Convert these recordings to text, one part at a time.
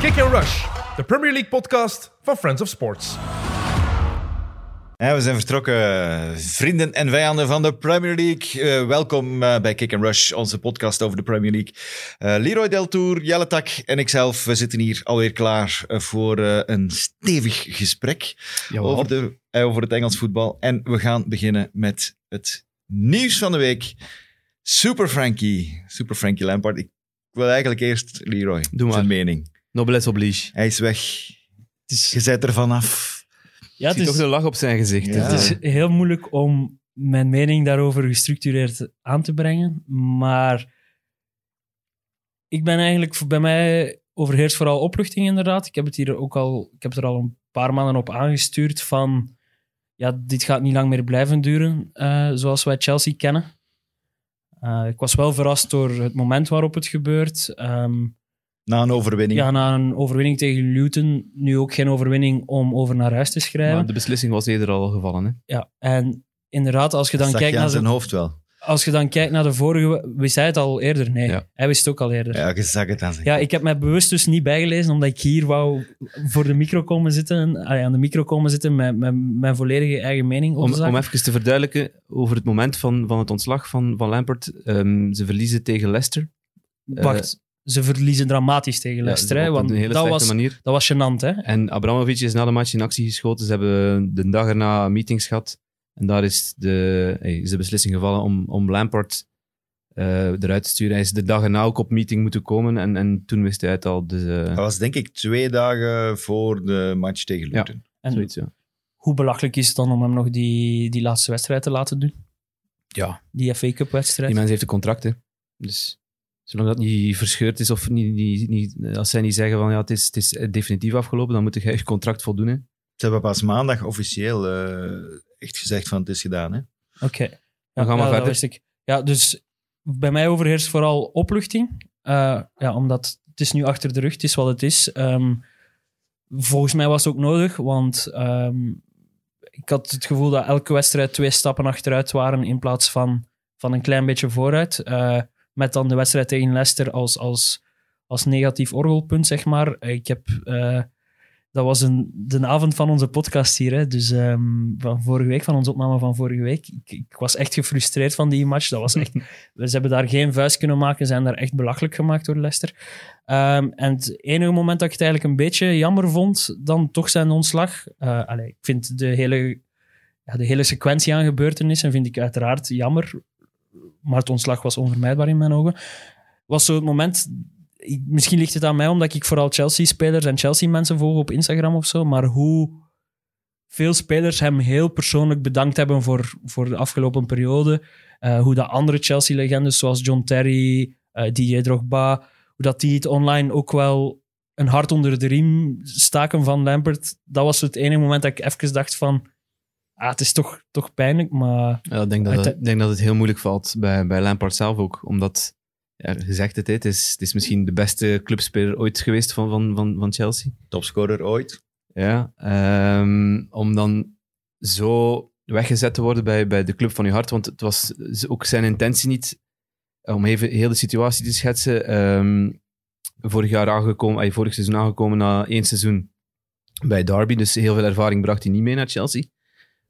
Kick and Rush, de Premier League podcast van Friends of Sports. Ja, we zijn vertrokken, vrienden en vijanden van de Premier League. Eh, welkom eh, bij Kick and Rush, onze podcast over de Premier League. Eh, Leroy Deltour, Jelle Tak en ikzelf, we zitten hier alweer klaar eh, voor eh, een stevig gesprek Jawel. over, de, eh, over het Engels voetbal. En we gaan beginnen met het nieuws van de week. Super Frankie, Super Frankie Lampard. Ik wil eigenlijk eerst Leroy, Doe maar. zijn mening. Noblesse oblige. Hij is weg. Je bent er vanaf. Ja, het Zie toch is, de lach op zijn gezicht. Ja. hè. het is heel moeilijk om mijn mening daarover gestructureerd aan te brengen. Maar ik ben eigenlijk, bij mij overheerst vooral opluchting inderdaad. Ik heb het hier ook al, ik heb er al een paar maanden op aangestuurd van, ja, dit gaat niet lang meer blijven duren, eh, zoals wij Chelsea kennen. Eh, ik was wel verrast door het moment waarop het gebeurt. Ehm, Na een overwinning. ja, na een overwinning tegen Luton, nu ook geen overwinning om over naar huis te schrijven. Maar de beslissing was eerder al gevallen. Hè? Ja, en inderdaad, als je dan, Zag je kijkt aan naar zijn de, hoofd wel. als je dan kijkt naar de vorige, wist hij het al eerder? Nee, Ja. hij wist het ook al eerder. Ja. Ja, je zag het aan zijn ik heb mij bewust dus niet bijgelezen, omdat ik hier wou voor de micro komen zitten, allee, aan de micro komen zitten met, met mijn volledige eigen mening over Om, de zaak. om even te verduidelijken over het moment van, van het ontslag van, van Lampert. Ehm, ze verliezen tegen Leicester. Wacht, ze verliezen dramatisch tegen Leicester, eh, Ja, hè, op want een hele dat slechte was, manier. dat was gênant. Hè? En Abramovic is na de match in actie geschoten. Ze hebben de dag erna meetings gehad. En daar is de, hey, is de beslissing gevallen om, om Lampard eh, eruit te sturen. Hij is de dag erna ook op meeting moeten komen. En, en toen wist hij het al. Dus, eh, Dat was denk ik twee dagen voor de match tegen Luton. En zoiets, ja. hoe belachelijk is het dan om hem nog die, die laatste wedstrijd te laten doen? Ja. Die FA Cup wedstrijd. Die mens heeft een contract, hè. Dus zolang dat niet verscheurd is of niet, niet, niet, als zij niet zeggen van ja, het is, het is definitief afgelopen, dan moet jij je contract voldoen, hè. Ze hebben pas maandag officieel eh, echt gezegd van het is gedaan. Hè? Oké. Dan gaan we dat verder. wist ik. Ja, dus bij mij overheerst vooral opluchting. Eh, ja, omdat het is nu achter de rug, het is wat het is. Ehm, volgens mij was het ook nodig, want ehm, ik had het gevoel dat elke wedstrijd twee stappen achteruit waren in plaats van, van een klein beetje vooruit. Eh, met dan de wedstrijd tegen Leicester als, als, als negatief orgelpunt, zeg maar. Ik heb... eh, dat was een, de avond van onze podcast hier, hè. dus ehm, van vorige week, van onze opname van vorige week. Ik, ik was echt gefrustreerd van die match. Dat was echt, ze hebben daar geen vuist kunnen maken, zijn daar echt belachelijk gemaakt door Leicester. Ehm, en het enige moment dat ik het eigenlijk een beetje jammer vond, dan toch zijn ontslag. Eh allee, ik vind de hele, ja, de hele sequentie aan gebeurtenissen vind ik uiteraard jammer, maar het ontslag was onvermijdbaar in mijn ogen. Was zo het moment ik- misschien ligt het aan mij omdat ik vooral Chelsea-spelers en Chelsea-mensen volg op Instagram of zo, maar hoe veel spelers hem heel persoonlijk bedankt hebben voor, voor de afgelopen periode. Eh, hoe dat andere Chelsea-legendes zoals John Terry, eh Didier Drogba, hoe dat die het online ook wel een hart onder de riem staken van Lampert. Dat was het enige moment dat ik even dacht van, ah, het is toch, toch pijnlijk, maar Ja, ik denk dat, het, Uite- ik denk dat het heel moeilijk valt bij, bij Lampard zelf ook. Omdat, ja, gezegd het, hè, het is, het is misschien de beste clubspeler ooit geweest van, van, van, van Chelsea. Topscorer ooit. Ja, ehm, om dan zo weggezet te worden bij, bij de club van je hart. Want het was z- ook zijn intentie niet, eh, om even heel de situatie te schetsen. ehm, vorig jaar aangekomen, ay, vorig seizoen aangekomen na één seizoen bij Derby. Dus heel veel ervaring bracht hij niet mee naar Chelsea.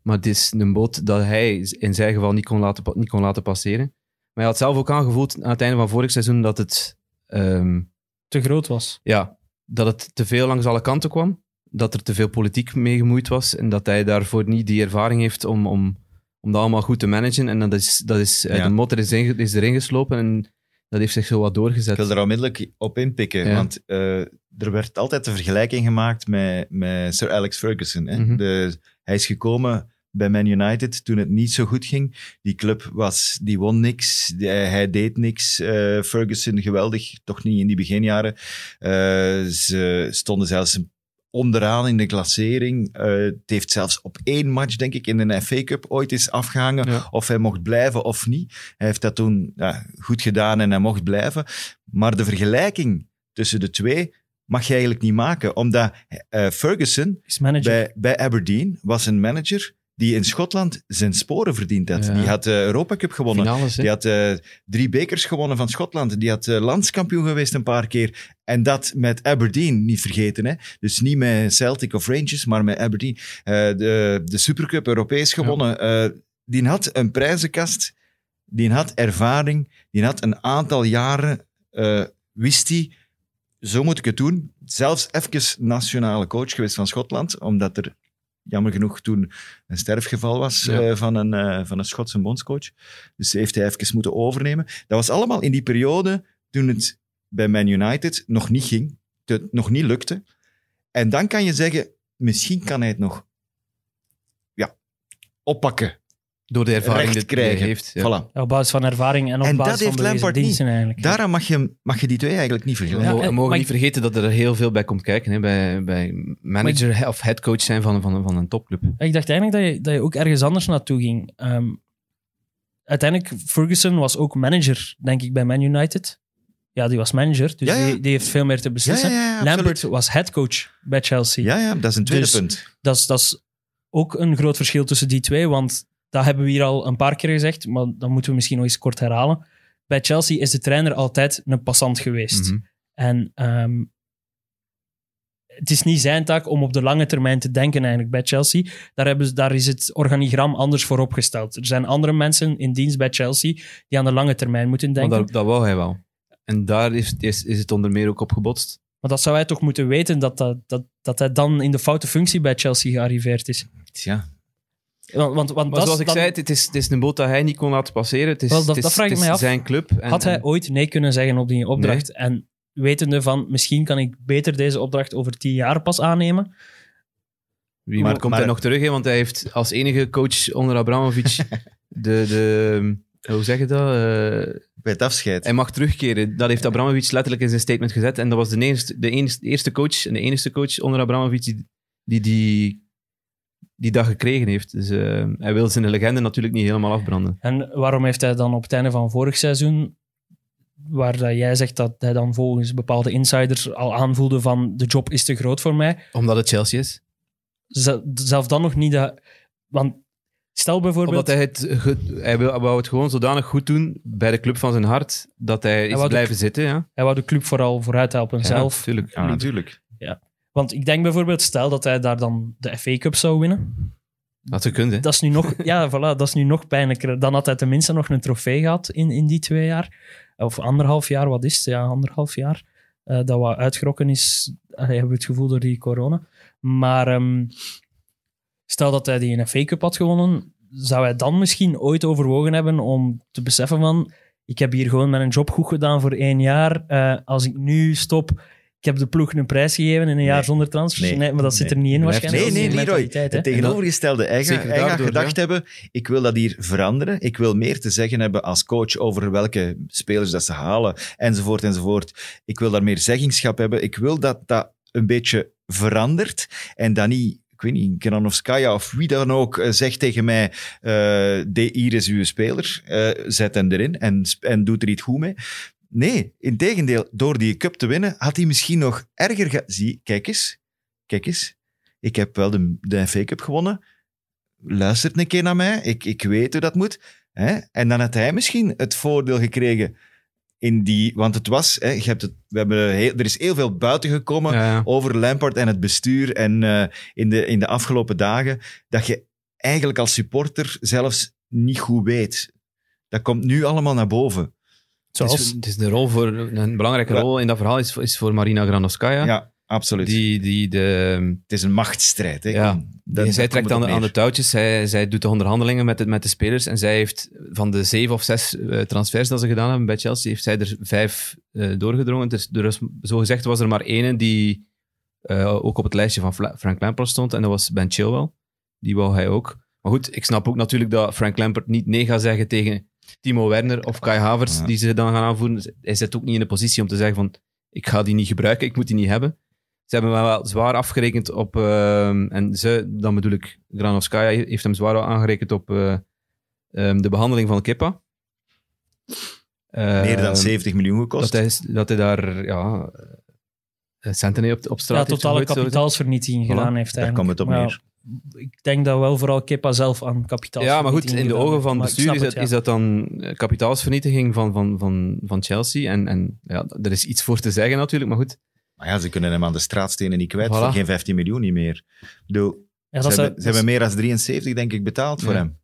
Maar het is een boot dat hij in zijn geval niet kon laten, pa- niet kon laten passeren. Maar hij had zelf ook aangevoeld aan het einde van vorig seizoen dat het ehm, te groot was. ja, dat het te veel langs alle kanten kwam. Dat er te veel politiek mee gemoeid was. En dat hij daarvoor niet die ervaring heeft om, om, om dat allemaal goed te managen. En dat is, dat is eh, Ja. de motor is, inge- is erin geslopen en dat heeft zich zo wat Ik wil doorgezet. er onmiddellijk op inpikken, Ja. want eh, er werd altijd de vergelijking gemaakt met, met Sir Alex Ferguson. Hè? Mhm. De- hij is gekomen bij Man United toen het niet zo goed ging. Die club was, die won niks, die- hij deed niks. Eh, Ferguson geweldig, toch niet in die beginjaren. Eh, ze stonden zelfs onderaan in de klassering. Eh, het heeft zelfs op één match, denk ik, in een FA Cup ooit eens afgehangen Ja. of hij mocht blijven of niet. Hij heeft dat toen ja, goed gedaan en hij mocht blijven. Maar de vergelijking tussen de twee mag je eigenlijk niet maken, omdat eh, Ferguson Is manager. bij, bij Aberdeen was een manager die in Schotland zijn sporen verdiend had. Ja. Die had de Europa Cup gewonnen. Finales, hè? Die had eh, drie bekers gewonnen van Schotland. Die had eh, landskampioen geweest een paar keer. En dat met Aberdeen, niet vergeten. Hè? Dus niet met Celtic of Rangers, maar met Aberdeen. Eh, de, de Supercup Europees gewonnen. Eh, die had een prijzenkast. Die had ervaring. Die had een aantal jaren. eh, wist hij, zo moet ik het doen. Zelfs even nationale coach geweest van Schotland. Omdat er jammer genoeg toen een sterfgeval was Ja. eh, van, een, eh, van een Schotse bondscoach. Dus heeft hij even moeten overnemen. Dat was allemaal in die periode toen het bij Man United nog niet ging, dat het nog niet lukte. En dan kan je zeggen, misschien kan hij het nog ja, oppakken, Door de ervaring recht die hij krijgen. heeft. Ja. Voilà. Ja, op basis van ervaring en op En dat basis heeft van bewezen Lampard niet. diensten eigenlijk. Daarom mag je, mag je die twee eigenlijk niet We vergelijken. Ja, mo- we en- mogen maar niet ik- vergeten dat er heel veel bij komt kijken. Hè? Bij, bij manager hè, of headcoach zijn van, van, van een topclub. Ik dacht eigenlijk dat je, dat je ook ergens anders naartoe ging. Ehm, uiteindelijk, Ferguson was ook manager, denk ik, bij Man United. Ja, die was manager, dus Ja, ja. Die, die heeft veel meer te Ja, ja, beslissen. ja, absoluut. Lampert was headcoach bij Chelsea. Ja, ja, dat is een tweede Dus- punt. Dat, is, dat is ook een groot verschil tussen die twee, want dat hebben we hier al een paar keer gezegd, maar dat moeten we misschien nog eens kort herhalen. Bij Chelsea is de trainer altijd een passant geweest. Mhm. En ehm, het is niet zijn taak om op de lange termijn te denken eigenlijk bij Chelsea. Daar, hebben, ze- daar is het organigram anders voor opgesteld. Er zijn andere mensen in dienst bij Chelsea die aan de lange termijn moeten Maar denken. Maar dat, dat, dat wou hij wel. En daar is, is, is het onder meer ook op gebotst. zou hij toch moeten weten dat, dat, dat, dat hij dan in de foute functie bij Chelsea gearriveerd is. Ja. Want, want, want Maar dat, zoals ik dan- zei, het is, het is een boot dat hij niet kon laten passeren. Het is, Wel, dat- het is, dat vraag ik het is mij af. zijn club. En, had hij en- ooit nee kunnen zeggen op die opdracht? En wetende van, misschien kan ik beter deze opdracht over tien jaar pas aannemen. Wie Maar- maar, komt maar- hij nog terug, hè? want hij heeft als enige coach onder Abramovic de, de... ehm, Hoe zeg je dat? Eh, Bij het afscheid. hij mag terugkeren. Dat heeft Abramovic letterlijk in zijn statement gezet. En dat was de eerste, de enigste- eerste coach en de enige coach onder Abramovic die die, die, die dat gekregen heeft. Dus eh, hij wil zijn legende natuurlijk niet helemaal afbranden. En waarom heeft hij dan op het einde van vorig seizoen, waar dat jij zegt dat hij dan volgens bepaalde insiders al aanvoelde van de job is te groot voor mij, Omdat het Chelsea is. ze- zelf dan nog niet dat... Want stel bijvoorbeeld... Omdat hij het, ge- hij wil, wou het gewoon zodanig goed doen bij de club van zijn hart, dat hij is wou de- blijven zitten. Ja. Hij wou de club vooral vooruit helpen zelf. natuurlijk. Ja, natuurlijk. Want ik denk bijvoorbeeld, stel dat hij daar dan de FA Cup zou winnen. Dat ze kunnen. Dat is nu nog, ja, voilà, dat is nu nog pijnlijker. Dan had hij tenminste nog een trofee gehad in, in die twee jaar. Of anderhalf jaar, wat is het? Ja, anderhalf jaar. eh, dat wat uitgerokken is, allee, hebben we het gevoel door die corona. Maar ehm, stel dat hij die FA Cup had gewonnen, zou hij dan misschien ooit overwogen hebben om te beseffen van ik heb hier gewoon mijn job goed gedaan voor één jaar. Eh, als ik nu stop, ik heb de ploeg een prijs gegeven in een jaar zonder transfers. Nee. Nee, maar dat Nee. zit er niet in Blijft- waarschijnlijk. Nee, Dat is nee, die Leroy. mentaliteit, hè. Het tegenovergestelde. Hij gaat Zeker hij gaat daardoor, gedacht hebben, ik wil dat hier veranderen. Ik wil meer te zeggen hebben als coach over welke spelers dat ze halen, enzovoort, enzovoort. Ik wil daar meer zeggenschap hebben. Ik wil dat dat een beetje verandert en dat niet... Ik weet niet, Kananovskaya of wie dan ook eh, zegt tegen mij: eh de, Hier is uw speler, eh, zet hem erin en, sp- en doet er iets goed mee. Nee, integendeel, door die cup te winnen had hij misschien nog erger. ge- Zie, kijk eens, kijk eens. Ik heb wel de, de FA Cup gewonnen. Luistert een keer naar mij. Ik, ik weet hoe dat moet. Hè? En dan had hij misschien het voordeel gekregen in die... Want het was... Hè, je hebt het, we hebben heel- er is heel veel buiten gekomen Ja. over Lampard en het bestuur en eh, in, de, in de afgelopen dagen, dat je eigenlijk als supporter zelfs niet goed weet. Dat komt nu allemaal naar boven. Dus Het, is, Zoals, het is de rol voor, een belangrijke Ja. rol in dat verhaal is, voor- is voor Marina Granovskaya. Ja, absoluut. Die, die, de, het is een machtsstrijd. Hè? Ja. Kom, die- daar- zij daar komt trekt het aan, op de- aan neer. de touwtjes, zij, zij doet de onderhandelingen met de, met de spelers en zij heeft van de zeven of zes eh, transfers dat ze gedaan hebben bij Chelsea, heeft zij er vijf eh, doorgedrongen. Dus er is, zogezegd was er maar ene die eh, ook op het lijstje van Fla- Frank Lampard stond en dat was Ben Chilwell. Die wou hij ook. Maar goed, ik snap ook natuurlijk dat Frank Lampard niet nee gaat zeggen tegen Timo Werner of Kai Havertz, Ja. die ze dan gaan aanvoeren. Hij zit ook niet in de positie om te zeggen van ik ga die niet gebruiken, ik moet die niet hebben. Ze hebben hem wel zwaar afgerekend op, ehm, en ze, dan bedoel ik, Granovskaya heeft hem zwaar aangerekend op eh, ehm, de behandeling van Kippa. Meer Ehm, dan 70 miljoen dat gekost. hij, dat hij daar ja, eh, centen op, op straat ja, heeft totale gegooid, zo gezegd. kapitaalsvernietiging Voilà, gedaan heeft daar eigenlijk. komt het op Ja, neer. ik denk dat wel vooral Kepa zelf aan kapitaal. Ja, maar goed, in de ogen van Maar ik snap bestuur is, dat- het, ja. is dat dan eh, kapitaalsvernietiging van, van, van, van Chelsea. En, en ja, er is iets voor te zeggen natuurlijk, maar goed. Maar ja, ze kunnen hem aan de straatstenen niet kwijt Voilà. eh, voor geen 15 miljoen niet meer. Ik bedoel, Ja, ze, dat, hebben, is, ze hebben meer dan 73, denk ik, betaald voor Ja. hem.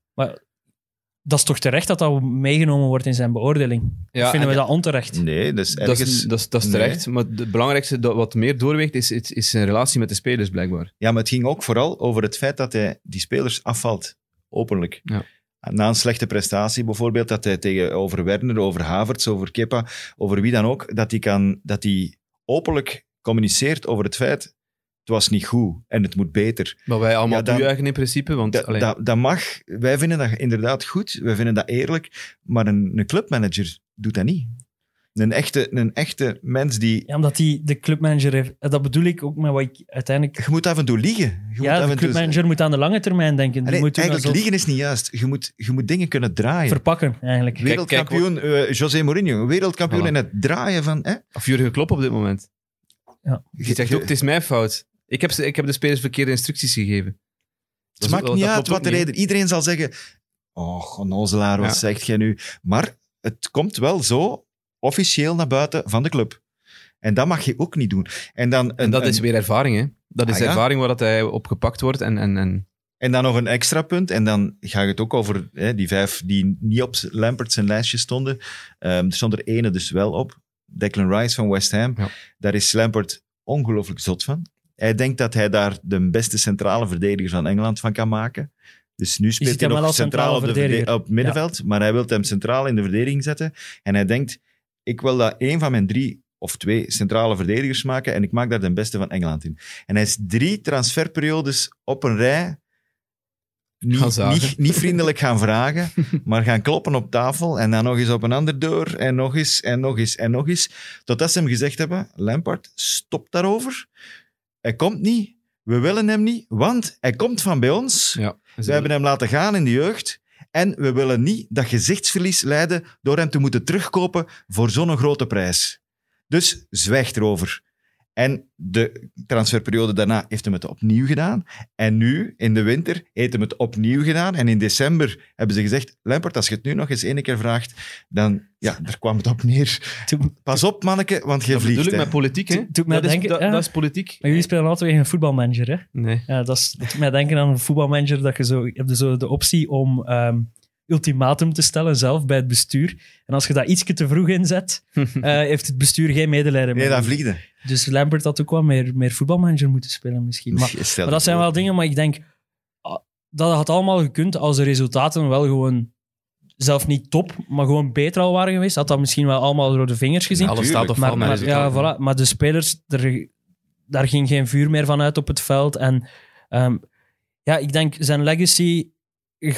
dat is toch terecht dat dat meegenomen wordt in zijn beoordeling? Ja, Vinden we en- dat onterecht? Nee, dus dat, ergens... is, dat, is, dat is terecht. Maar het belangrijkste dat wat meer doorweegt is, is, is zijn relatie met de spelers, blijkbaar. Ja, maar het ging ook vooral over het feit dat hij die spelers afvalt, openlijk. Ja. Na een slechte prestatie bijvoorbeeld, dat hij tegenover Werner, over Havertz, over Kepa, over wie dan ook, dat hij, kan, dat hij openlijk communiceert over het feit het was niet goed en het moet beter. Wat wij allemaal Ja, dan- toejuichen in principe. Want, Dat, allee, dat, dat mag. Wij vinden dat inderdaad goed, wij vinden dat eerlijk, maar een, een clubmanager doet dat niet. Een echte, een echte mens die... Ja, omdat hij de clubmanager heeft. eh, Dat bedoel ik ook met wat ik uiteindelijk. Je moet af en toe liegen. Je moet Ja, af de en toe- clubmanager moet aan de lange termijn denken. Die Allee, moet doen eigenlijk, alsof- liegen is niet juist. Je moet, je moet dingen kunnen draaien. verpakken, eigenlijk. Kijk, kijk, Wereldkampioen eh, José Mourinho, wereldkampioen Voilà. in het draaien van. Hè? Of Jurgen Klopp op dit moment. Die zegt ook, het is mijn fout. Ik heb, ze- ik heb de spelers verkeerde instructies gegeven. het maakt niet uit wat de reden reden. Iedereen zal zeggen: Oh, onnozelaar, wat Ja. zegt jij nu? Maar het komt wel zo officieel naar buiten van de club. En dat mag je ook niet doen. En dan, een, En dat een- is weer ervaring, hè? Dat is Ah, ja? ervaring waar dat hij op gepakt wordt. En, en, en en dan nog een extra punt. En dan ga je het ook over hè, die vijf die niet op Lampert zijn lijstje stonden. Ehm, er stond er ene dus wel op. Declan Rice van West Ham. Ja. Daar is Lampert ongelooflijk zot van. Hij denkt dat hij daar de beste centrale verdediger van Engeland van kan maken. Dus nu ziet speelt hij hem wel nog als centraal centrale op, de verde- verdediger. op het middenveld, maar hij wil hem centraal in de verdediging zetten. En hij denkt, ik wil dat één van mijn drie of twee centrale verdedigers maken en ik maak daar de beste van Engeland in. En hij is drie transferperiodes op een rij Gaan niet, zagen. niet, niet vriendelijk gaan vragen, maar gaan kloppen op tafel en dan nog eens op een ander deur en nog eens en nog eens en nog eens. Totdat ze hem gezegd hebben, Lampard, stop daarover. Hij komt niet. We willen hem niet, want hij komt van bij ons. ja. We hebben hem laten gaan in de jeugd. En we willen niet dat gezichtsverlies leiden door hem te moeten terugkopen voor zo'n grote prijs. Dus zwijg erover. En de transferperiode daarna heeft hem het opnieuw gedaan. En nu, in de winter, heeft hem het opnieuw gedaan. En in december hebben ze gezegd, Lampert, als je het nu nog eens één keer vraagt, dan... Ja, daar kwam het op neer. Toen- Pas op, manneke, want je dat vliegt. bedoel ik hè. met politiek, hè? Doet mij dat, is, denken- dat, ja. dat is politiek. Maar jullie spelen altijd tegen een voetbalmanager, hè? Nee. Ja, dat, is, dat doet mij denken aan een voetbalmanager. Dat je zo, je hebt zo de optie om ehm, ultimatum te stellen zelf bij het bestuur. En als je dat ietsje te vroeg inzet, eh, heeft het bestuur geen medelijden Nee, meer. dat vliegde. Dus Lambert had ook wel meer, meer voetbalmanager moeten spelen misschien. Maar, Stel maar dat je zijn voor. wel dingen, maar ik denk... ah, Dat had allemaal gekund als de resultaten wel gewoon... Zelf niet top, maar gewoon beter al waren geweest. Had dat misschien wel allemaal door de vingers gezien. Alles staat op tuurlijk, val Maar, met maar, ja, resultaten. voilà, maar de spelers, er, daar ging geen vuur meer van uit op het veld. En ehm, ja, ik denk zijn legacy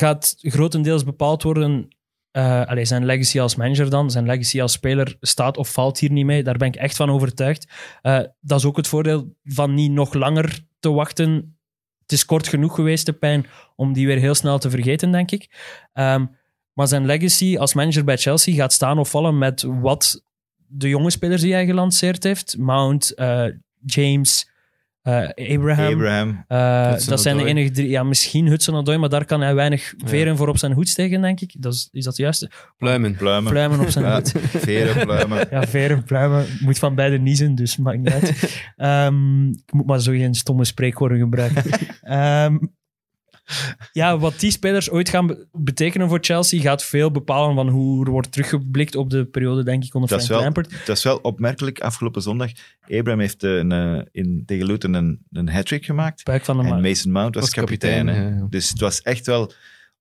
gaat grotendeels bepaald worden. eh allee, zijn legacy als manager dan, zijn legacy als speler staat of valt hier niet mee. Daar ben ik echt van overtuigd. Eh, dat is ook het voordeel van niet nog langer te wachten. Het is kort genoeg geweest, de pijn, om die weer heel snel te vergeten, denk ik. Ehm, maar zijn legacy als manager bij Chelsea gaat staan of vallen met wat de jonge spelers die hij gelanceerd heeft. Mount, eh, James, eh, Abraham. Abraham. Eh, Hudson dat zijn de Odoi. enige drie. Ja, misschien Hudson-Odoi, maar daar kan hij weinig veren voor op zijn hoed steken, denk ik. Dat is, is dat juist? Pluimen. Pluimen. Pluimen op zijn Ja, hoed. veren, pluimen. Ja, veren, pluimen. Moet van beide niezen, dus maakt niet uit. Ehm, ik moet maar zo geen stomme spreekwoorden gebruiken. Ehm, ja, wat die spelers ooit gaan be- betekenen voor Chelsea gaat veel bepalen van hoe er wordt teruggeblikt op de periode, denk ik, onder Dat is Frank wel- Lampert. Dat is wel opmerkelijk. Afgelopen zondag, Abraham heeft een, eh, in, tegen Luton een, een hat-trick gemaakt. Buik van de En maag. Mason Mount was, Was kapitein, kapitein. hè. ja, ja. Dus het was echt wel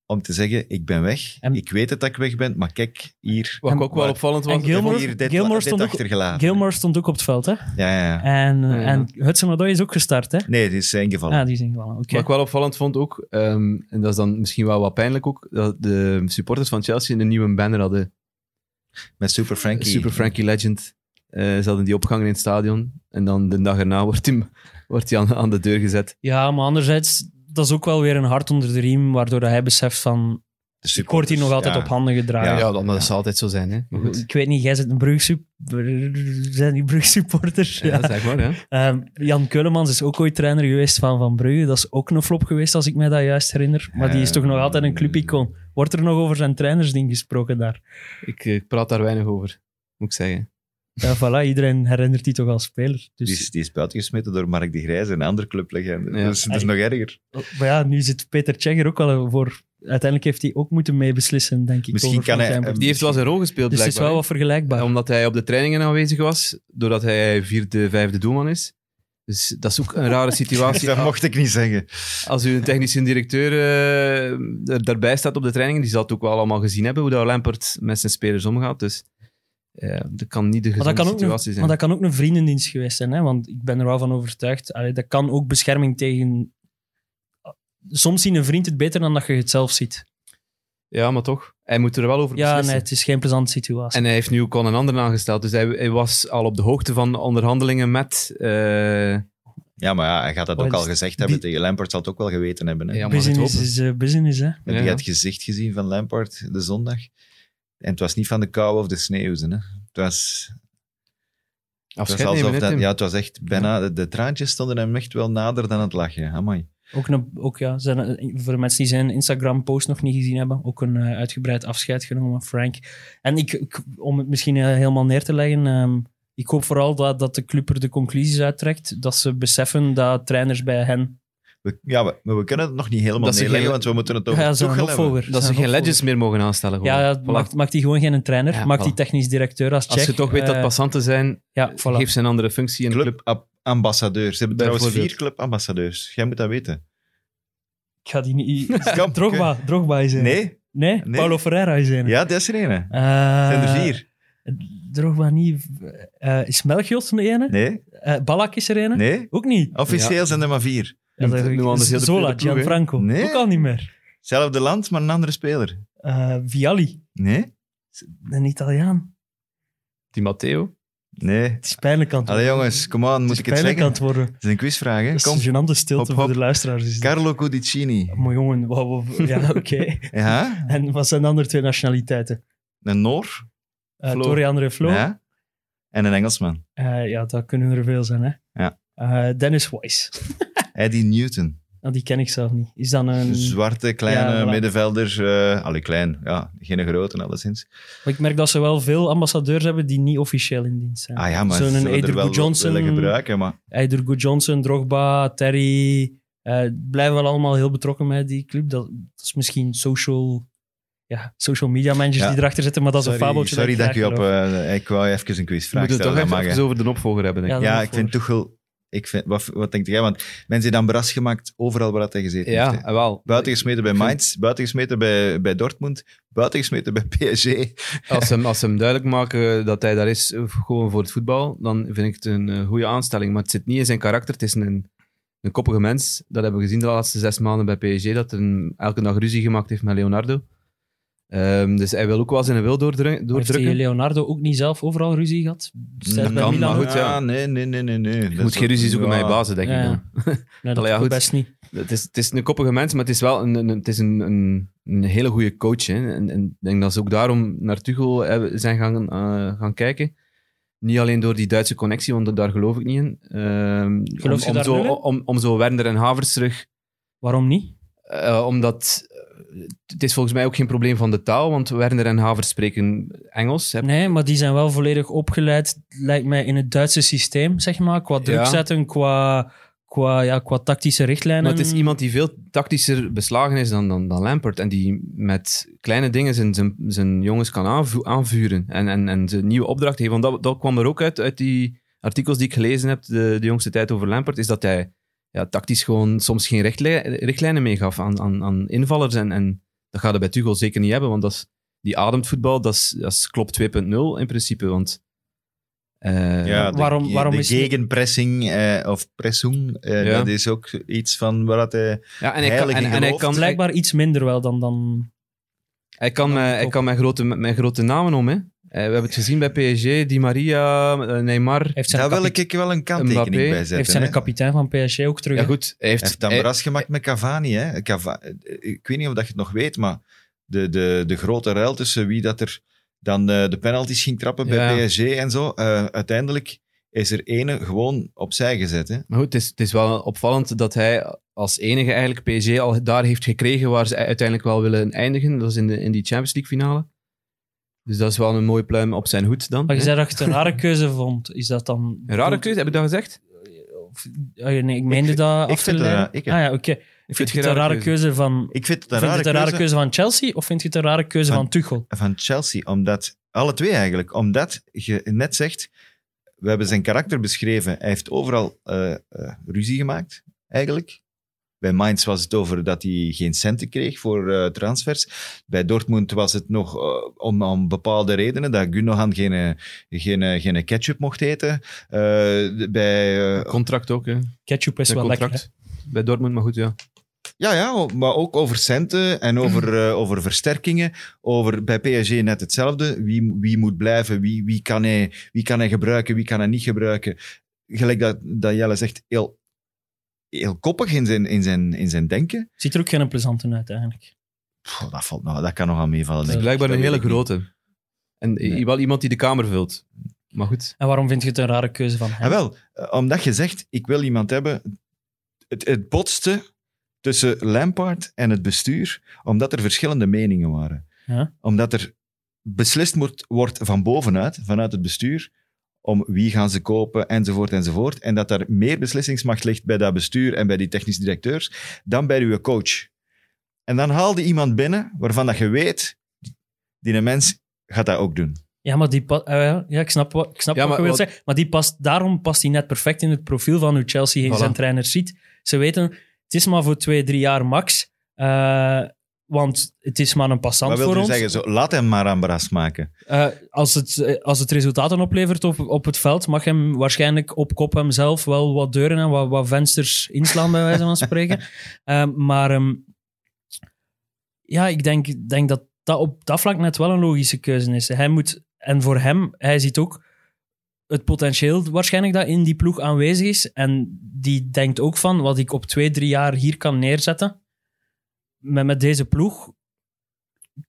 om te zeggen, ik ben weg. En- ik weet het dat ik weg ben, maar kijk hier. Wat En- ook wel maar- opvallend en was. Ik heb Gilmore- hier dit, Gilmore dit stond ook- achtergelaten. Gilmore stond ook op het veld, hè? Ja, ja, ja. En, Ja, ja. en Hudson-Odoi is ook gestart, hè? Nee, het is eh, ingevallen. Ah, die zijn gevallen. Oké. Wat ik wel opvallend vond ook, ehm, en dat is dan misschien wel wat pijnlijk ook, dat de supporters van Chelsea een nieuwe banner hadden. Met Super Frankie. Super Frankie Legend. Eh ze hadden die opgehangen in het stadion. En dan de dag erna wordt hij wordt die aan, aan de deur gezet. Ja, maar anderzijds, dat is ook wel weer een hart onder de riem, waardoor dat hij beseft van... de Ik word hier nog altijd ja. op handen gedragen. Ja, Ja, dan, dat zal altijd zo zijn. Hè? Maar goed. Ik weet niet, jij bent een Brugge-supporter. Zijn die Brugge-supporters? Ja, dat is eigenlijk waar, hè? Ehm, Jan Keulemans is ook ooit trainer geweest van Van Brugge. Dat is ook een flop geweest, als ik mij dat juist herinner. Maar die is toch nog altijd een clubicoon. Wordt er nog over zijn trainersding gesproken daar? Ik, eh, praat daar weinig over, moet ik zeggen. Ja, voilà, iedereen herinnert die toch als speler. Dus, Die is, die is buitengesmeten door Mark de Grijze, een andere clublegende. Ja. Dus dat is nog erger. oh, Maar ja, nu zit Peter Tsjecher ook al voor... Uiteindelijk heeft hij ook moeten meebeslissen, denk ik. Misschien over kan hij- Van Gijp. Die heeft wel zijn rol gespeeld, Dus het is blijkbaar. wel wat vergelijkbaar. Ja, Omdat hij op de trainingen aanwezig was, doordat hij vierde, vijfde doelman is. Dus dat is ook een rare situatie. Dat mocht ik niet zeggen. Als u een technische directeur eh, er- daarbij staat op de trainingen, die zal het ook wel allemaal gezien hebben, hoe dat Lampert met zijn spelers omgaat. Dus eh, dat kan niet de Maar dat, gezonde kan ook situatie een, zijn. maar dat kan ook een vriendendienst geweest zijn, hè? want ik ben er wel van overtuigd. Allee, dat kan ook bescherming tegen... Soms ziet een vriend het beter dan dat je het zelf ziet. Ja, maar toch. Hij moet er wel over Ja, beslissen. nee, het is geen plezante situatie. En hij heeft nu ook al een ander aangesteld. Dus hij, hij was al op de hoogte van de onderhandelingen met... eh, Ja, maar ja, hij gaat dat Oh, ook dus al gezegd hebben die- tegen Lampard. Zal het ook wel geweten hebben. Hè? Ja, maar- het business hopen. is eh, business, hè. Heb Ja. je het gezicht gezien van Lampard de zondag? En het was niet van de kou of de sneeuw. Hè? Het was, het was afscheid alsof nemen, hè, dat, Tim? ja, het was echt bijna... De, de traantjes stonden hem echt wel nader dan het lachen. Amai. Ook, een, ook ja, zijn, eh, voor de mensen die zijn Instagram-post nog niet gezien hebben, ook een eh, uitgebreid afscheid genomen, Frank. En ik, ik- om het misschien eh, helemaal neer te leggen, ehm, ik hoop vooral dat, dat de club er de conclusies uittrekt, dat ze beseffen dat trainers bij hen... We, ja, we, maar we kunnen het nog niet helemaal Dat ze neerleggen, geen- want we moeten het over Ja, ja, ze zijn opvolger. Dat ze zijn geen opvolger. legends meer mogen aanstellen. Gewoon. Ja, ja, Voilà. maakt, maakt die gewoon geen trainer, Ja, maakt die voilà. technisch directeur als check. Als je toch weet dat Eh, passanten zijn, Ja, voilà. geef ze een andere functie in de club. Clubambassadeurs. Ze hebben trouwens Bijvoorbeeld. vier clubambassadeurs. Jij moet dat weten. Ik ga die niet... Kom, Drogba, Drogba is een. Nee? Nee? Nee. Paulo Ferreira is een. Ja, dat is er een. Eh, Zijn er vier? Drogba niet... eh, is Melchior de ene? Nee? Eh, Balak is er een. Nee? Oh, Ook niet. Officieel zijn er maar vier. Ja, dat- nu anders heel de Zola, tweede ploeg, hè? Gianfranco. Nee. Ook al niet meer. Hetzelfde land, maar een andere speler. Eh, Vialli, Nee? een Italiaan. Die Matteo. Nee. Het is pijnlijk aan het Allee worden. jongens, kom aan, moet het ik is het pijnlijk aan zeggen? het worden. Het is een quizvraag, hè? Het is Kom. een gênante stilte Hop, hop. voor de luisteraars. Is dit. Carlo Codicini. Maar jongen, wat- wat- ja, oké. Ja? En wat zijn de andere twee nationaliteiten? Een Noor. Eh Flo. Tori André Flo. Eh, Ja. Ja? En een Engelsman. dat kunnen er veel zijn, hè. Ja. Eh, Dennis Wise. Eddie Newton. Nou, die ken ik zelf niet. Is dan een... Een zwarte, kleine Ja, voilà. middenvelder. eh allee, klein. Ja, geen grote, alleszins. Maar ik merk dat ze wel veel ambassadeurs hebben die niet officieel in dienst zijn. Ah ja, maar ze Zo'n zullen Eder er wel Good Johnson. willen gebruiken, maar... Eidergo Johnson, Drogba, Terry. eh blijven wel allemaal heel betrokken bij die club. Dat, dat is misschien social, ja, social media managers Ja. die erachter zitten, maar dat is een sorry, fabeltje. sorry dat ik graag je op... geloof. eh, ik wou even een We quizvraag moeten het stellen. toch dat even, mag, hè. over de opvolger hebben, denk ik. Ja, Ja, dan ik voor. vind Tuchel... Ik vind, wat, wat denkt jij? Want mensen zijn dan bras gemaakt overal waar dat hij gezeten Ja, heeft. hè. eh, wel. Buitengesmeten bij Ik vind- Mainz, buitengesmeten bij, bij Dortmund, buitengesmeten bij PSG. Als ze, hem, als ze hem duidelijk maken dat hij daar is eh, gewoon voor het voetbal, dan vind ik het een eh, goede aanstelling. Maar het zit niet in zijn karakter. Het is een, een koppige mens. Dat hebben we gezien de laatste zes maanden bij PSG. Dat hij hem elke dag ruzie gemaakt heeft met Leonardo. Ehm, dus hij wil ook wel zijn wil doordru- Maar Heeft die doordrukken. Leonardo ook niet zelf overal ruzie gehad? Zij Dat bij kan, Milan maar ook? goed, ja. Ah, nee, nee, nee, nee. nee. Je moet geen ruzie zoeken met je bazen, denk Ja, ik ja. dan. Nee, dat Allee, ja, doet goed. best niet. Het is, het is een koppige mens, maar het is wel een, een, het is een, een, een hele goede coach. Hè. En, en ik denk dat ze ook daarom naar Tuchel hebben- zijn gaan, eh, gaan kijken. Niet alleen door die Duitse connectie, want daar geloof ik niet in. Ehm, Geloof je om, om, daar zo, wel in? om, om zo Werner en Havers terug. Waarom niet? eh, omdat eh, het is volgens mij ook geen probleem van de taal, want Werner en Havers spreken Engels. Heb- Nee, maar die zijn wel volledig opgeleid, lijkt mij, in het Duitse systeem, zeg maar. Qua druk Ja. zetten, qua, qua, ja, qua tactische richtlijnen. Maar het is iemand die veel tactischer beslagen is dan, dan, dan Lampert. En die met kleine dingen zijn, zijn, zijn jongens kan aanvu- aanvuren. En, en, en ze een nieuwe opdracht geven. Want dat, dat kwam er ook uit, uit die artikels die ik gelezen heb de, de jongste tijd over Lampert. Is dat hij ja, tactisch gewoon soms geen richtlij- richtlijnen meegaf aan, aan, aan invallers. En, en dat gaat hij bij Tuchel zeker niet hebben. Want dat is, die ademt voetbal, dat is, dat is klopt 2.0 in principe. Want... eh, Ja, de, Waarom- waarom de is- gegenpressing eh, of pressing, eh, Ja. dat is ook iets van waar dat hij... ja, en hij kan, Heilig in en, en hij geloof. kan, hij- Blijkbaar iets minder wel dan... dan Hij kan, Dan met- top. hij kan met, grote, met grote namen om, hè. Eh, We hebben het gezien bij PSG, Di Maria, eh, Neymar. heeft zijn Daar wil kapite- ik wel een kanttekening Mbappé bij zetten. heeft zijn hè. kapitein van PSG ook terug. Ja hè? goed, hij heeft... Hij heeft dan hij- bras gemaakt met Cavani. Hè. Cava- eh, ik weet niet of dat je het nog weet, maar de, de, de grote ruil tussen wie dat er dan eh, de penalties ging trappen Ja. bij PSG en zo. eh, uiteindelijk is er ene gewoon opzij gezet. Hè? Maar goed, het is, het is wel opvallend dat hij als enige eigenlijk PSG al daar heeft gekregen waar ze uiteindelijk wel willen eindigen. Dat is in, de, in die Champions League finale. Dus dat is wel een mooie pluim op zijn hoed dan. Maar je hè. zei dat je het een rare keuze vond. Is dat dan... Hm. Een rare keuze, heb ik dat gezegd? Of- ah, nee, ik meende dat ik af te vind het leiden. een- ik- ah ja, oké. Ik Vind je het een rare keuze van... Ik vind het een Vind je rare, het een rare keuze keuze van Chelsea of vind je het een rare keuze Van- van Tuchel? van Chelsea, omdat, alle twee eigenlijk, omdat je net zegt, we hebben zijn karakter beschreven, hij heeft overal eh, eh, ruzie gemaakt, eigenlijk. Bij Mainz was het over dat hij geen centen kreeg voor eh, transfers. Bij Dortmund was het nog eh, om, om bepaalde redenen dat Gundogan geen, eh, geen, eh, geen ketchup mocht eten. Eh, de- bij, eh, Contract ook, hè. Ketchup is Zijn wel lekker. contract. hè. Bij Dortmund, maar goed, ja. Ja, ja, o- maar ook over centen en over, eh, over versterkingen. Over, bij PSG net hetzelfde. Wie, wie moet blijven, wie, wie, kan hij, wie kan hij gebruiken, wie kan hij niet gebruiken. Gelijk dat, dat Jelle zegt, heel, heel koppig in zijn, in zijn, in zijn denken. Ziet er ook geen plezanten uit, eigenlijk. Pff, dat, valt, nou, dat kan nog aan meevallen. Het is Denk ik. blijkbaar Dat een weet hele ik niet. grote. En i- Nee. wel iemand die de kamer vult. Maar goed. En waarom vind je het een rare keuze van hem? Ah, wel, eh, omdat je zegt, ik wil iemand hebben... Het, het botste tussen Lampard en het bestuur, omdat er verschillende meningen waren. Ja. Omdat er beslist wordt, wordt van bovenuit, vanuit het bestuur, om wie gaan ze kopen, enzovoort, enzovoort. En dat daar meer beslissingsmacht ligt bij dat bestuur en bij die technisch directeurs dan bij uw coach. En dan haal je iemand binnen waarvan dat je weet, die een mens gaat dat ook doen. Ja, maar die pa- eh, ja, ik snap, wat- ik snap Ja, wat maar je wilt wat- zeggen. Maar die past, daarom past hij net perfect in het profiel van hoe Chelsea Voilà. zijn trainer ziet. Ze weten, het is maar voor twee, drie jaar max. eh, want het is maar een passant Wat wil voor je ons. zeggen? Zo, laat hem maar aan bras maken. Eh, als, het, eh, als het resultaten oplevert op, op het veld, mag hem waarschijnlijk op kop hemzelf wel wat deuren en wat, wat vensters inslaan, bij wijze van spreken. Eh, maar ehm, ja, ik denk, denk dat dat op dat vlak net wel een logische keuze is. Hij moet, en voor hem, hij ziet ook het potentieel waarschijnlijk dat in die ploeg aanwezig is. En die denkt ook van wat ik op twee, drie jaar hier kan neerzetten met, met deze ploeg.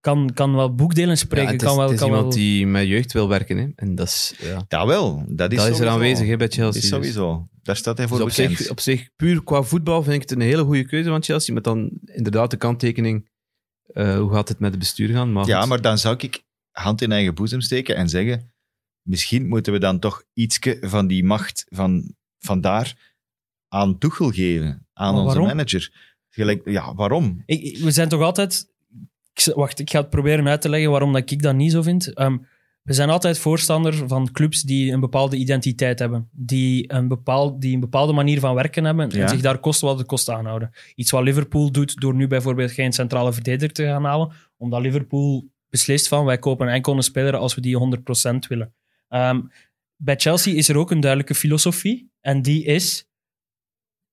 Kan, kan wel boekdelen Ja, spreken. het is, kan wel, het is kan iemand wel... die met jeugd wil werken, hè. En dat is, ja. Dat wel. Dat is, dat is er sowieso. aanwezig, hè, bij Dat Chelsea. is Dus- sowieso. Daar staat hij voor Dus op, bekend. zich, op zich, puur qua voetbal, vind ik het een hele goede keuze van Chelsea. Met dan inderdaad de kanttekening, eh, hoe gaat het met het bestuur gaan? Maar ja, goed. maar dan zou ik hand in eigen boezem steken en zeggen, misschien moeten we dan toch ietske van die macht van, van daar aan Tuchel geven, aan Maar onze waarom? manager. Gelijk, ja, waarom? Ik- ik- we zijn toch altijd. Ik, z- wacht, ik ga het proberen uit te leggen waarom dat ik dat niet zo vind. Ehm, we zijn altijd voorstander van clubs die een bepaalde identiteit hebben. Die een, bepaal, die een bepaalde manier van werken hebben en Ja. zich daar kost wat het kost aanhouden. Iets wat Liverpool doet door nu bijvoorbeeld geen centrale verdediger te gaan halen, omdat Liverpool beslist van wij kopen enkel een speler als we die 100% willen. Ehm, bij Chelsea is er ook een duidelijke filosofie en die is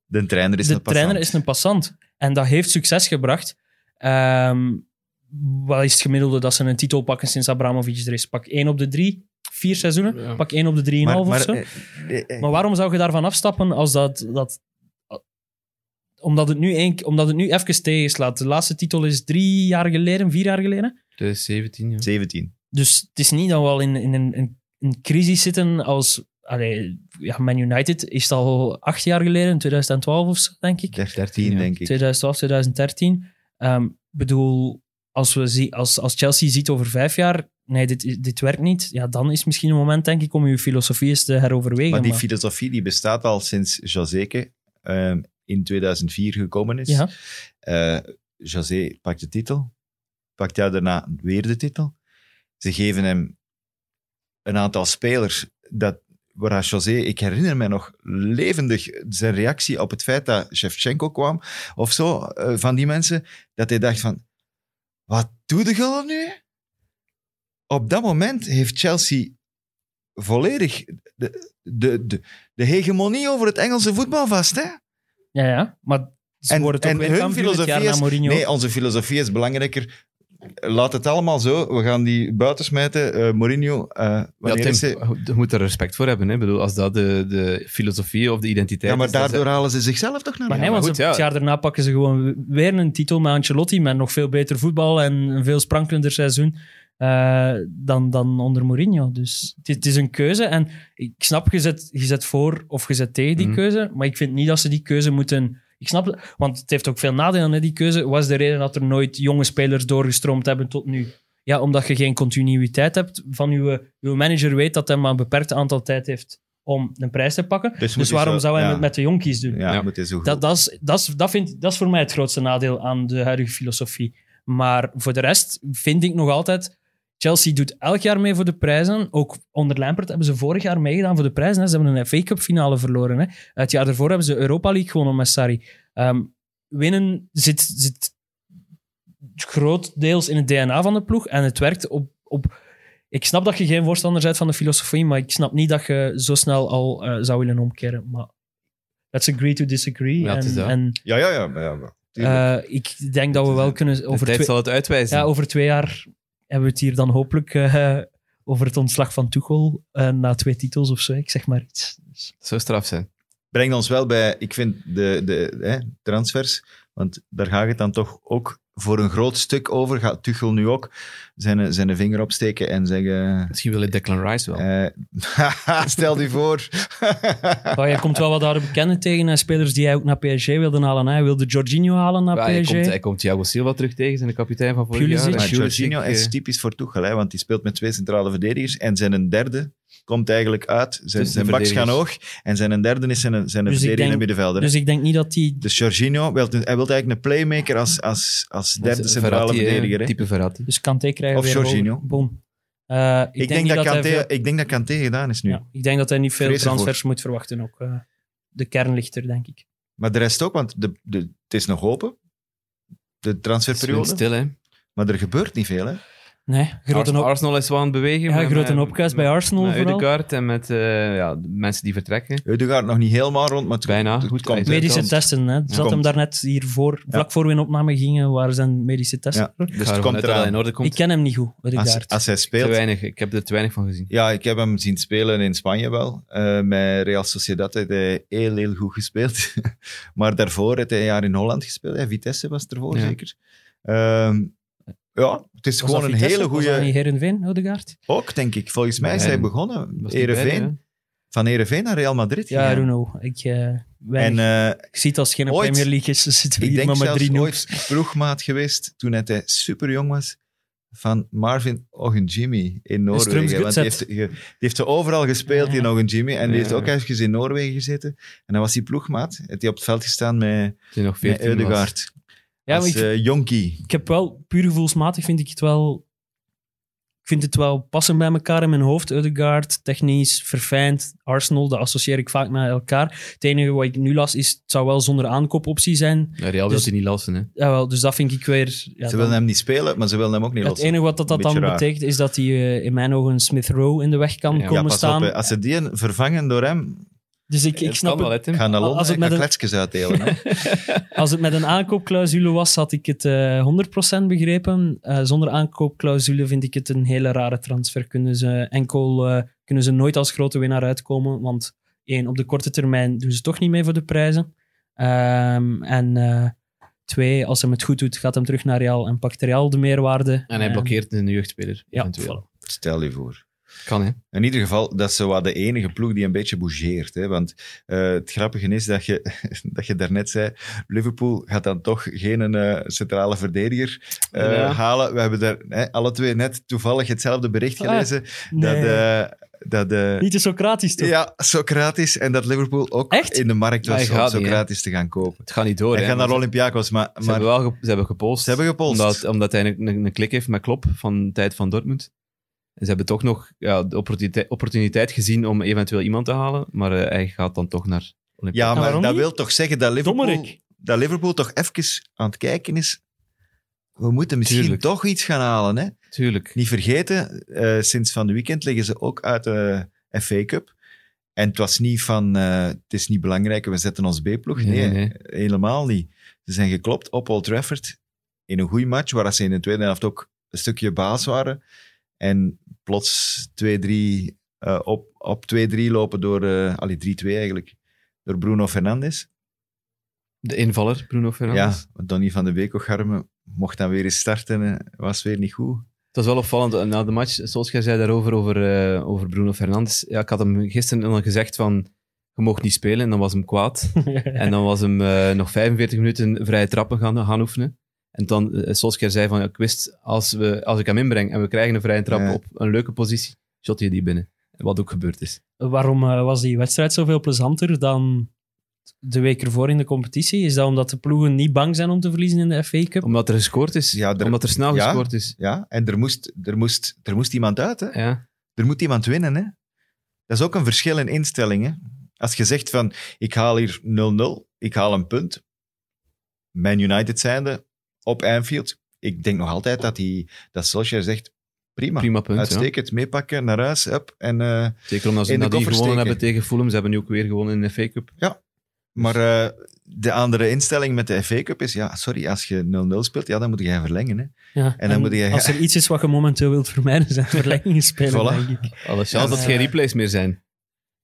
De trainer is de een trainer passant. is een passant. En dat heeft succes gebracht. Ehm, wat is het gemiddelde dat ze een titel pakken sinds Abramovic er is? Pak 1 op de 3, vier seizoenen. Ja. Pak 1 op de 3,5 of zo. eh, eh, eh, maar waarom zou je daarvan afstappen als dat... dat omdat het, nu één- omdat het nu even tegenslaat. De laatste titel is drie jaar geleden, vier jaar geleden. 2017, ja. 17. Dus het is niet dat we al in, in een, een, een crisis zitten als... Allee, ja, Man United is het al acht jaar geleden, in 2012 of zo, denk ik. 13, 13, ja. denk ik. 2012, 2013. Ehm, Ik bedoel, als, we zie, als, als Chelsea ziet over vijf jaar, nee, dit, is- dit werkt niet, ja, dan is het misschien een moment, denk ik, om uw filosofie eens te heroverwegen. Maar die maar- filosofie die bestaat al sinds Joseke ehm, in 2004 gekomen is. Ja. Eh, José pakt de titel, pakt jou daarna weer de titel. Ze geven hem een aantal spelers dat, waar José, ik herinner mij nog levendig zijn reactie op het feit dat Shevchenko kwam of zo, eh, van die mensen, dat hij dacht van, wat doe de al nu? Op dat moment heeft Chelsea volledig de, de, de, de hegemonie over het Engelse voetbal vast, hè? ja, ja, maar ze En- worden en toch weer hun kampioen het jaar filosofie na is- Mourinho. Nee, onze filosofie is belangrijker laat het allemaal zo. We gaan die buiten smijten. Eh, Mourinho, eh Ja, wanneer Tim, is hij- je moet er respect voor hebben. Hè? Ik bedoel, als dat de, de filosofie of de identiteit Ja, maar is, dan daardoor halen ze zichzelf toch naar Maar de nee, want goed, ze- ja. het jaar daarna pakken ze gewoon weer een titel met Ancelotti, met nog veel beter voetbal en een veel sprankelender seizoen eh, dan, dan onder Mourinho. Dus het, is- het is een keuze. En ik snap, je zet, je zet voor of je zet tegen die Mhm. keuze, maar ik vind niet dat ze die keuze moeten... Ik snap het, want het heeft ook veel nadelen, hè, die keuze. Wat is de reden dat er nooit jonge spelers doorgestroomd hebben tot nu? Ja, omdat je geen continuïteit hebt. Van uw, uw manager weet dat hij maar een beperkt aantal tijd heeft om een prijs te pakken. Dus Dus, moet hij waarom zo- zou hij ja. het met de jonkies doen? Ja, Ja. maar het is zo goed. Dat, dat, is, dat, is, dat, vind, dat is voor mij het grootste nadeel aan de huidige filosofie. Maar voor de rest vind ik nog altijd... Chelsea doet elk jaar mee voor de prijzen. Ook onder Lampert hebben ze vorig jaar meegedaan voor de prijzen. Hè. Ze hebben een FA Cup finale verloren. Hè. Het jaar daarvoor hebben ze Europa League gewonnen met Sarri. Ehm, winnen zit, zit grotendeels in het DNA van de ploeg. En het werkt op, op... Ik snap dat je geen voorstander bent van de filosofie, maar ik snap niet dat je zo snel al eh, zou willen omkeren. Maar let's agree to disagree. Ja, het is en dat. en Ja, ja, ja. maar ja, maar- eh, ik denk dat Het we is wel dat. kunnen... de Over tijd twee, zal het uitwijzen. ja, over twee jaar hebben we het hier dan hopelijk eh, over het ontslag van Tuchel eh, na twee titels of zo. Ik zeg maar iets. Dus- Zo straf zijn. brengt ons wel bij, ik vind, de, de hè, transfers. Want daar gaat het dan toch ook voor een groot stuk over. Gaat Tuchel nu ook zijn, eh, zijn vinger opsteken en zeggen... Misschien wil je Declan Rice wel. eh, stel die voor. Maar je komt wel wat harde bekenden tegen. en spelers die hij ook naar PSG wilde halen. Hij wilde Jorginho halen naar Maar hij, PSG. komt, hij komt Thiago Silva terug tegen, zijn de kapitein van vorig Pulisic. jaar. maar En Pulisic, Jorginho eh, is typisch voor Tuchel, hè, want die speelt met twee centrale verdedigers. En zijn een derde komt eigenlijk uit. Zijn, Tussen zijn de baks gaan hoog. verdedigers. En zijn een derde is zijn, zijn ik verdedigende denk- middenvelder. hè. Dus ik denk niet dat die... Dus Jorginho, wil, hij wil eigenlijk een playmaker als, als, als derde eh, Verratti, centrale hè, verdediger. hè. Type Verratti. Dus Kanté krijgen Of weer over. Jorginho. Bon. Eh, Ik, denk niet dat hij Kanté, veel- ik denk dat Kanté gedaan is nu. ja, ik denk dat hij niet veel Vrees ervoor. transfers moet verwachten ook. eh. de kern ligt er, denk ik. Maar de rest ook, want de, de, het is nog open. De Het is transferperiode. stil, hè. Maar er gebeurt niet veel, hè? Nee, grote, Ars- op, Arsenal is wel aan het bewegen. ja, maar met- grote opkuis bij Arsenal Met vooral. Udegaard en met eh, ja, de mensen die vertrekken. Eudegaard nog niet helemaal rond, maar het, Bijna. het Goed, komt. hij hè. is Medische Komt. testen, hè. Zat Komt. hem daarnet hiervoor, vlak voor we in opname gingen, waar zijn medische testen. Ja, Ik dus ga het ervan komt uit dat dat in eraan. orde komt. Ik ken hem niet goed, Als, Ødegaard. als hij te speelt... weinig. Ik heb er te weinig van gezien. Ja, ik heb hem zien spelen in Spanje wel. Eh, met Real Sociedad heeft hij heel, heel goed gespeeld. maar daarvoor heeft hij een jaar in Holland gespeeld. hè. Vitesse was ervoor, Ja. zeker. Ehm, ja, het is Was gewoon dat een Vitesse? hele Was dat niet goede... Heerenveen, Ødegaard? Ook, denk ik. Volgens mij is Nee, hij begonnen. Was niet Ereveen. bij, hè? van Ereveen naar Real Madrid Ja, I gegaan. don't know. Ik, eh, weinig. En eh, ik zie het als het geen ooit- Premier League is, ze zitten we ik hier denk maar met zelfs drie noobs. ooit ploegmaat geweest, toen hij super jong was, van Marvin Ogunjimi in Strums Noorwegen. Want die heeft, Gutset. die heeft ze overal gespeeld Ja. in Ogunjimi. En die heeft Ja. ook eventjes in Noorwegen gezeten. En dan was die ploegmaat. Heeft hij op het veld gestaan met, Toen nog met 14 was. Eudegaard. Ja, maar als ik, eh, jonkie. ik heb wel, puur gevoelsmatig vind ik het wel... Ik vind het wel passend bij elkaar in mijn hoofd. Ødegaard, technisch, verfijnd. Arsenal, dat associeer ik vaak met elkaar. Het enige wat ik nu las is, het zou wel zonder aankoopoptie zijn. Ja, Real wil Dus- hij niet lassen, hè. Ja, wel, dus dat vind ik weer... Ja, ze dan- wilden hem niet spelen, maar ze wilden hem ook niet Ja, lossen. Het enige wat dat, dat Beetje dan raar. betekent is dat hij eh, in mijn ogen Smith Rowe in de weg kan Ja, ja, komen pas staan. op. hè. Als ze die vervangen door hem, dus ik, ik snap kan wel, het. hè, Tim. gaan naar Als Londen het en met gaan een- kletsjes uitdelen. hè. Als het met een aankoopclausule was, had ik het eh 100% begrepen. Eh, zonder aankoopclausule vind ik het een hele rare transfer. Kunnen ze, enkel, eh, kunnen ze nooit als grote winnaar uitkomen. Want één, op de korte termijn doen ze toch niet mee voor de prijzen. Ehm, en eh, twee, als hem het goed doet, gaat hem terug naar Real en pakt Real de meerwaarde. Eh, En hij blokkeert een jeugdspeler. Ja, eventueel. voilà. Stel je voor. Kan, hè. In ieder geval, dat is zo wat de enige ploeg die een beetje bougeert. Hè? Want eh, het grappige is dat je, dat je daarnet zei, Liverpool gaat dan toch geen eh, centrale verdediger eh, Ja. halen. We hebben daar hè, alle twee net toevallig hetzelfde bericht Ah, gelezen. dat Nee. eh, dat eh, Niet te Socratisch toch? ja, Socrates en dat Liverpool ook Echt? in de markt Hij was om gaat niet, hè? Socrates te gaan kopen. Het gaat niet door, Hij hè. gaat naar maar ze- Olympiakos, maar, Ze maar hebben wel ge- ze hebben gepost. ze hebben gepolst. Omdat, omdat hij een, een, een klik heeft met Klopp van de tijd van Dortmund. En ze hebben toch nog ja, de opportuniteit, opportuniteit gezien om eventueel iemand te halen. Maar eh, hij gaat dan toch naar Olympia. ja, En maar waarom dat niet? wil toch zeggen dat Liverpool, Dommerik. dat Liverpool toch even aan het kijken is... We moeten misschien Tuurlijk. toch iets gaan halen, hè? tuurlijk. Niet vergeten, eh, sinds van de weekend liggen ze ook uit de FA Cup. En het was niet van, eh, het is niet belangrijk, we zetten ons B-ploeg. Nee, Nee, nee. helemaal niet. Ze zijn geklopt op Old Trafford in een goede match, waar ze in de tweede helft ook een stukje baas waren. En plots 2-3 eh, op, op 2-3 lopen door, eh allee, 3-2 eigenlijk, door Bruno Fernandes. De invaller, Bruno Fernandes. Ja, want Donny van de Beek ook Garme mocht dan weer eens starten. eh, Was weer niet goed. Het was wel opvallend. eh, Na de match, zoals jij zei daarover, over, eh, over Bruno Fernandes. Ja, ik had hem gisteren al gezegd van, je mocht niet spelen. En dan was hem kwaad. En dan was hem eh, nog 45 minuten vrije trappen gaan, gaan oefenen. En dan, eh, zoals jij zei, van, ja, ik wist, als, we, als ik hem inbreng en we krijgen een vrije trap Ja. op een leuke positie, shot je die binnen. Wat ook gebeurd is. Waarom eh, was die wedstrijd zoveel plezanter dan de week ervoor in de competitie? Is dat omdat de ploegen niet bang zijn om te verliezen in de FA Cup? Omdat er gescoord is. Ja, er- Omdat er snel ja. gescoord is. Ja, en er moest, er moest, er moest iemand uit, hè. Ja. Er moet iemand winnen, hè. Dat is ook een verschil in instellingen. Als je zegt van, ik haal hier 0-0, ik haal een punt. Man United zijnde, op Anfield. Ik denk nog altijd dat, die, dat Solskjaer zegt, prima, Prima punt. ja. uitstekend, meepakken, naar huis, up. En, eh, Zeker omdat ze In de nadien koffer gewonnen steken. hebben tegen Fulham. Ze hebben nu ook weer gewonnen in de FA Cup. maar eh, de andere instelling met de FA Cup is, ja, sorry, als je 0-0 speelt, ja, dan moet jij verlengen, hè. Ja, En dan moet je- Als er iets is wat je momenteel wilt vermijden, zijn verlengingen spelen, Voilà. denk ik. Alle chance dat eh, er geen replays meer zijn.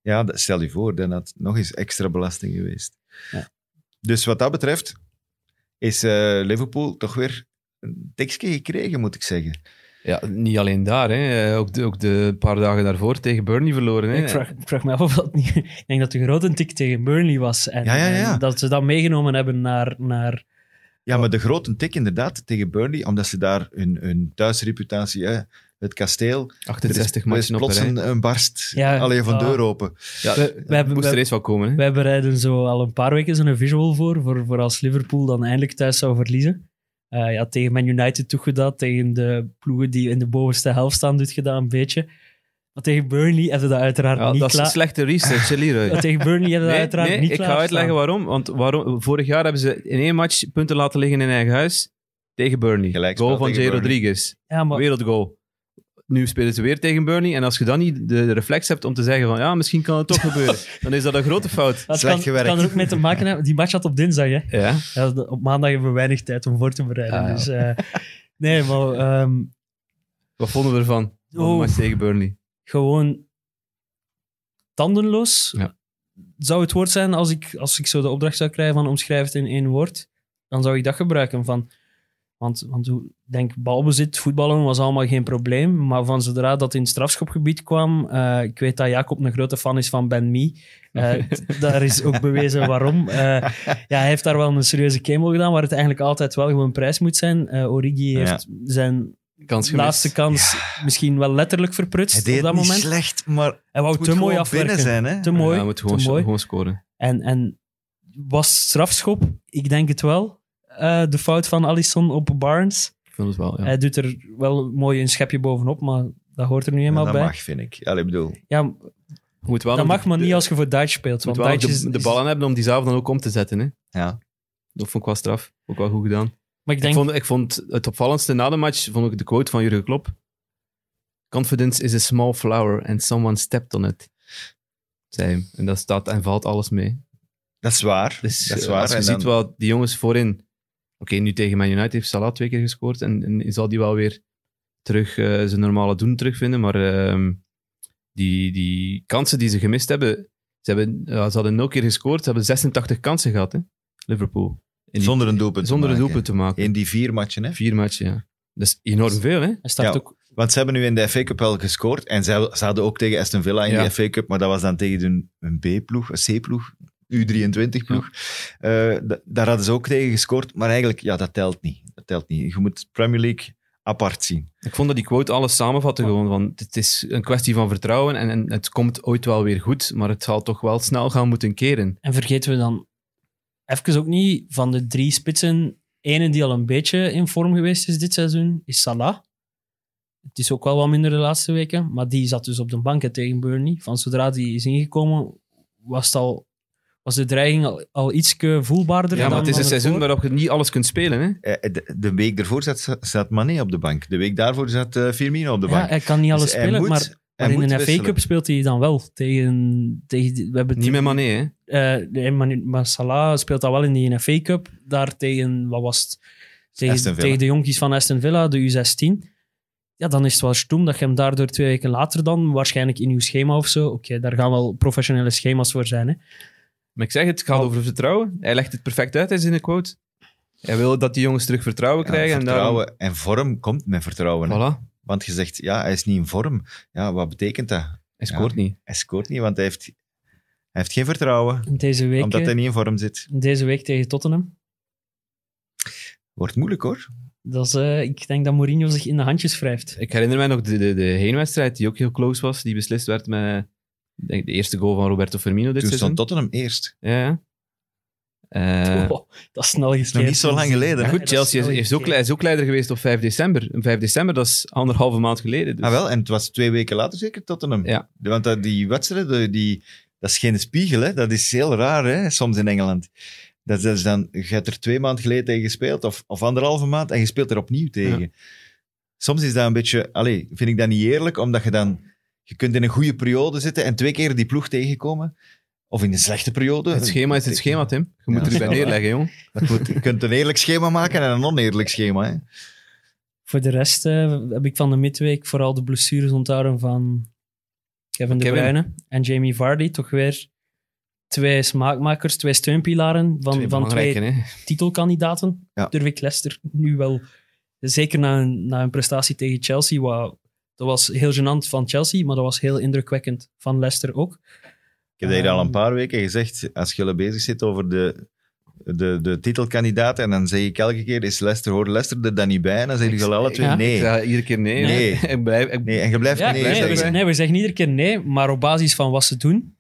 Ja, dat- stel je voor, dan had het nog eens extra belasting geweest. Ja. Dus wat dat betreft is eh, Liverpool toch weer een tikje gekregen, moet ik zeggen. Ja, niet alleen daar. Hè. Eh, Ook, de, ook de paar dagen daarvoor tegen Burnley verloren. Hè. Ik vraag, ik vraag me af of dat niet... Ik denk dat de grote tik tegen Burnley was. En, Ja, ja, ja. en dat ze dat meegenomen hebben naar... naar Ja, maar de grote tik inderdaad tegen Burnley, omdat ze daar hun, hun thuisreputatie, hè, het kasteel, er is, 68 er is matchen op een plots rij. een, een barst Ja, alleen van ah. deur open. Ja, We- we we, hebben- moest we- er eens wat komen. Hè. Wij bereiden zo al een paar weken zo'n visual voor, voor, voor als Liverpool dan eindelijk thuis zou verliezen. Eh, ja, tegen Man United doet je dat, tegen de ploegen die in de bovenste helft staan doet je dat een beetje. Maar tegen Burnley heb je dat uiteraard Ja, niet dat is een klaar. slechte research, hè, Leroy. Ja, Tegen Burnley heb je dat Nee, uiteraard nee, niet ik klaar. ga uitleggen waarom. Want waarom, vorig jaar hebben ze in één match punten laten liggen in eigen huis tegen Burnley. Gelijkspel Goal van tegen Jay Burnley. Rodriguez. Ja, maar Wereldgoal. Nu spelen ze weer tegen Burnley. En als je dan niet de reflex hebt om te zeggen van ja, misschien kan het toch gebeuren, dan is dat een grote fout. dat Slecht kan, gewerkt. kan er ook mee te maken hebben. Die match had op dinsdag, hè. Ja. Ja, de- op maandag hebben we weinig tijd om voor te bereiden. Ah, ja. dus, eh, nee, maar ehm, Wat vonden we ervan? Van de Oh. match tegen Burnley. gewoon tandenloos Ja. zou het woord zijn als ik, als ik zo de opdracht zou krijgen van omschrijf het in één woord. Dan zou ik dat gebruiken. Van, want, want hoe- ik denk, balbezit, voetballen was allemaal geen probleem. Maar van zodra dat in het strafschopgebied kwam... eh, ik weet dat Jacob een grote fan is van Ben Mee. Eh, t- daar is ook bewezen waarom. Eh, ja, hij heeft daar wel een serieuze kemel gedaan, waar het eigenlijk altijd wel gewoon prijs moet zijn. Eh, Origi Ja. heeft zijn Kans gemist. laatste kans misschien wel letterlijk Hij verprutst deed op dat het niet moment. slecht, maar het Hij wou moet te mooi gewoon afwerken. binnen zijn. Hè? Te mooi. Ja, moet gewoon, te mooi. gewoon scoren. En, en was strafschop, ik denk het wel, eh, de fout van Alisson op Barnes. Ik vind het wel, ja. Hij doet er wel mooi een schepje bovenop, maar dat hoort er nu Ja, eenmaal dat bij. mag, vind ik. Allee, ik bedoel, Ja, Je moet wel dat nog mag, maar de- niet als je voor Duits speelt. je moet Want wel nog Duits is, de, de is- ballen hebben om die zelf dan ook om te zetten. Hè? ja. Dat vond ik wel straf. Ook wel goed gedaan. Maar Ik, ik denk, vond, ik vond het opvallendste na de match vond ik de quote van Jurgen Klopp. Confidence is a small flower and someone stepped on it. Zei hem. En dat staat en valt alles mee. Dat is waar. Dus dat is eh, waar. als je En ziet dan- wat die jongens voorin... Oké, nu tegen Man United heeft Salah twee keer gescoord. En, en zal die wel weer terug eh, zijn normale doen terugvinden. Maar ehm, die, die kansen die ze gemist hebben... Ze, hebben, ja, ze hadden nul keer gescoord. Ze hebben 86 kansen gehad, hè? Liverpool. In die- Zonder een doelpunt te zonder een maken. doelpunt te maken. In die vier matchen, hè. Vier matchen, ja. Dat is enorm veel, hè? hij start Ja. ook... Want ze hebben nu in de FA Cup wel gescoord. En ze, ze hadden ook tegen Aston Villa in Ja. de FA Cup. Maar dat was dan tegen een, een B-ploeg, een C-ploeg, U23-ploeg. daar hadden ze ook tegen gescoord. Maar eigenlijk, ja, dat telt niet. Dat telt niet. Je moet Premier League apart zien. Ik vond dat die quote alles samenvatte gewoon. Van, het is een kwestie van vertrouwen en, en het komt ooit wel weer goed, maar het zal toch wel snel gaan moeten keren. En vergeten we dan even ook niet, van de drie spitsen, ene die al een beetje in vorm geweest is dit seizoen, is Salah. Het is ook wel wat minder de laatste weken, maar die zat dus op de bank hè, tegen Burnley. Van zodra die is ingekomen, was, het al, was de dreiging al, al iets voelbaarder. Ja, dan- maar het is dan een seizoen ervoor. waarop je niet alles kunt spelen. Hè? Eh, De, de week daarvoor zat, zat Mané op de bank. De week daarvoor zat eh, Firmino op de Ja, bank. hij kan niet alles Dus hij spelen, moet- maar, hij maar in moet een FA wisselen. Cup speelt hij dan wel. Tegen, tegen, die- we hebben het- Niet met Mané, hè? eh, nee, maar, nu- maar Salah speelt dat wel in die FA Cup. Daar tegen, wat was het? Aston Tegen, Villa. tegen de jonkies van Aston Villa, de U16. ja, dan is het wel stoem dat je hem daardoor twee weken later dan, waarschijnlijk in uw schema of zo, oké, daar gaan wel professionele schema's voor zijn. Hè. Maar ik zeg het, Oh. het gaat over vertrouwen. Hij legt het perfect uit, hij is in de quote. Hij wil dat die jongens terug vertrouwen Ja, krijgen. vertrouwen en vorm komt met vertrouwen. En hè. daarom, voilà, Want je zegt, ja, hij is niet in vorm. Ja, wat betekent dat? hij Ja. scoort niet. Hij scoort niet, want hij heeft, hij heeft geen vertrouwen. Deze week, Omdat hij eh, niet in vorm zit. deze week tegen Tottenham. Wordt moeilijk hoor. Dat is, eh, ik denk dat Mourinho zich in de handjes wrijft. Ik herinner mij nog de, de, de heenwedstrijd, die ook heel close was, die beslist werd met ik denk, de eerste goal van Roberto Firmino dit Toen seizoen. stond Dus Tottenham eerst. Ja, ja. Eh, Oh, dat is snel gespeeld. nog niet zo lang geleden, hè? maar Ja, Nee, goed, dat is Chelsea is, snel is, ook, gespeeld. is ook leider geweest op 5 december. En 5 december, dat is anderhalve maand geleden. Dus. Ah wel, en het was twee weken later zeker Tottenham. Ja. De- Want dat- die wedstrijden, de- die, dat is geen spiegel, hè? dat is heel raar hè? soms in Engeland. Dat is dan, je hebt er twee maanden geleden tegen gespeeld, of, of anderhalve maand, en je speelt er opnieuw tegen. Soms is dat een beetje, allee, vind ik dat niet eerlijk, omdat je dan, je kunt in een goede periode zitten en twee keer die ploeg tegenkomen. Of in een slechte periode. Het schema is het schema, Tim. Je moet Ja. er iets bij neerleggen, jong. Dat moet- je kunt een eerlijk schema maken en een oneerlijk schema. Hè? Voor de rest eh, heb ik van de midweek vooral de blessures onthouden van Kevin, De Kevin. Bruyne en Jamie Vardy. Toch weer twee smaakmakers, twee steunpilaren Twee van twee, van twee belangrijke, hè. titelkandidaten. Ja. Durf ik Leicester nu wel, zeker na een, na een prestatie tegen Chelsea, wat, dat was heel gênant van Chelsea, maar dat was heel indrukwekkend van Leicester ook. Ik heb dat hier al een Ehm. paar weken gezegd. Als je bezig zit over de, de, de titelkandidaten, en dan zeg ik elke keer, is Leicester, hoort Leicester er dan niet bij? En dan zeggen jullie alle twee, Ja. nee. Ik zeg iedere keer nee. Nee. hè. ik blijf, ik, nee. En je blijft Ja, nee, nee, we, zeggen. zeggen- nee, we zeggen iedere keer nee, maar op basis van wat ze doen,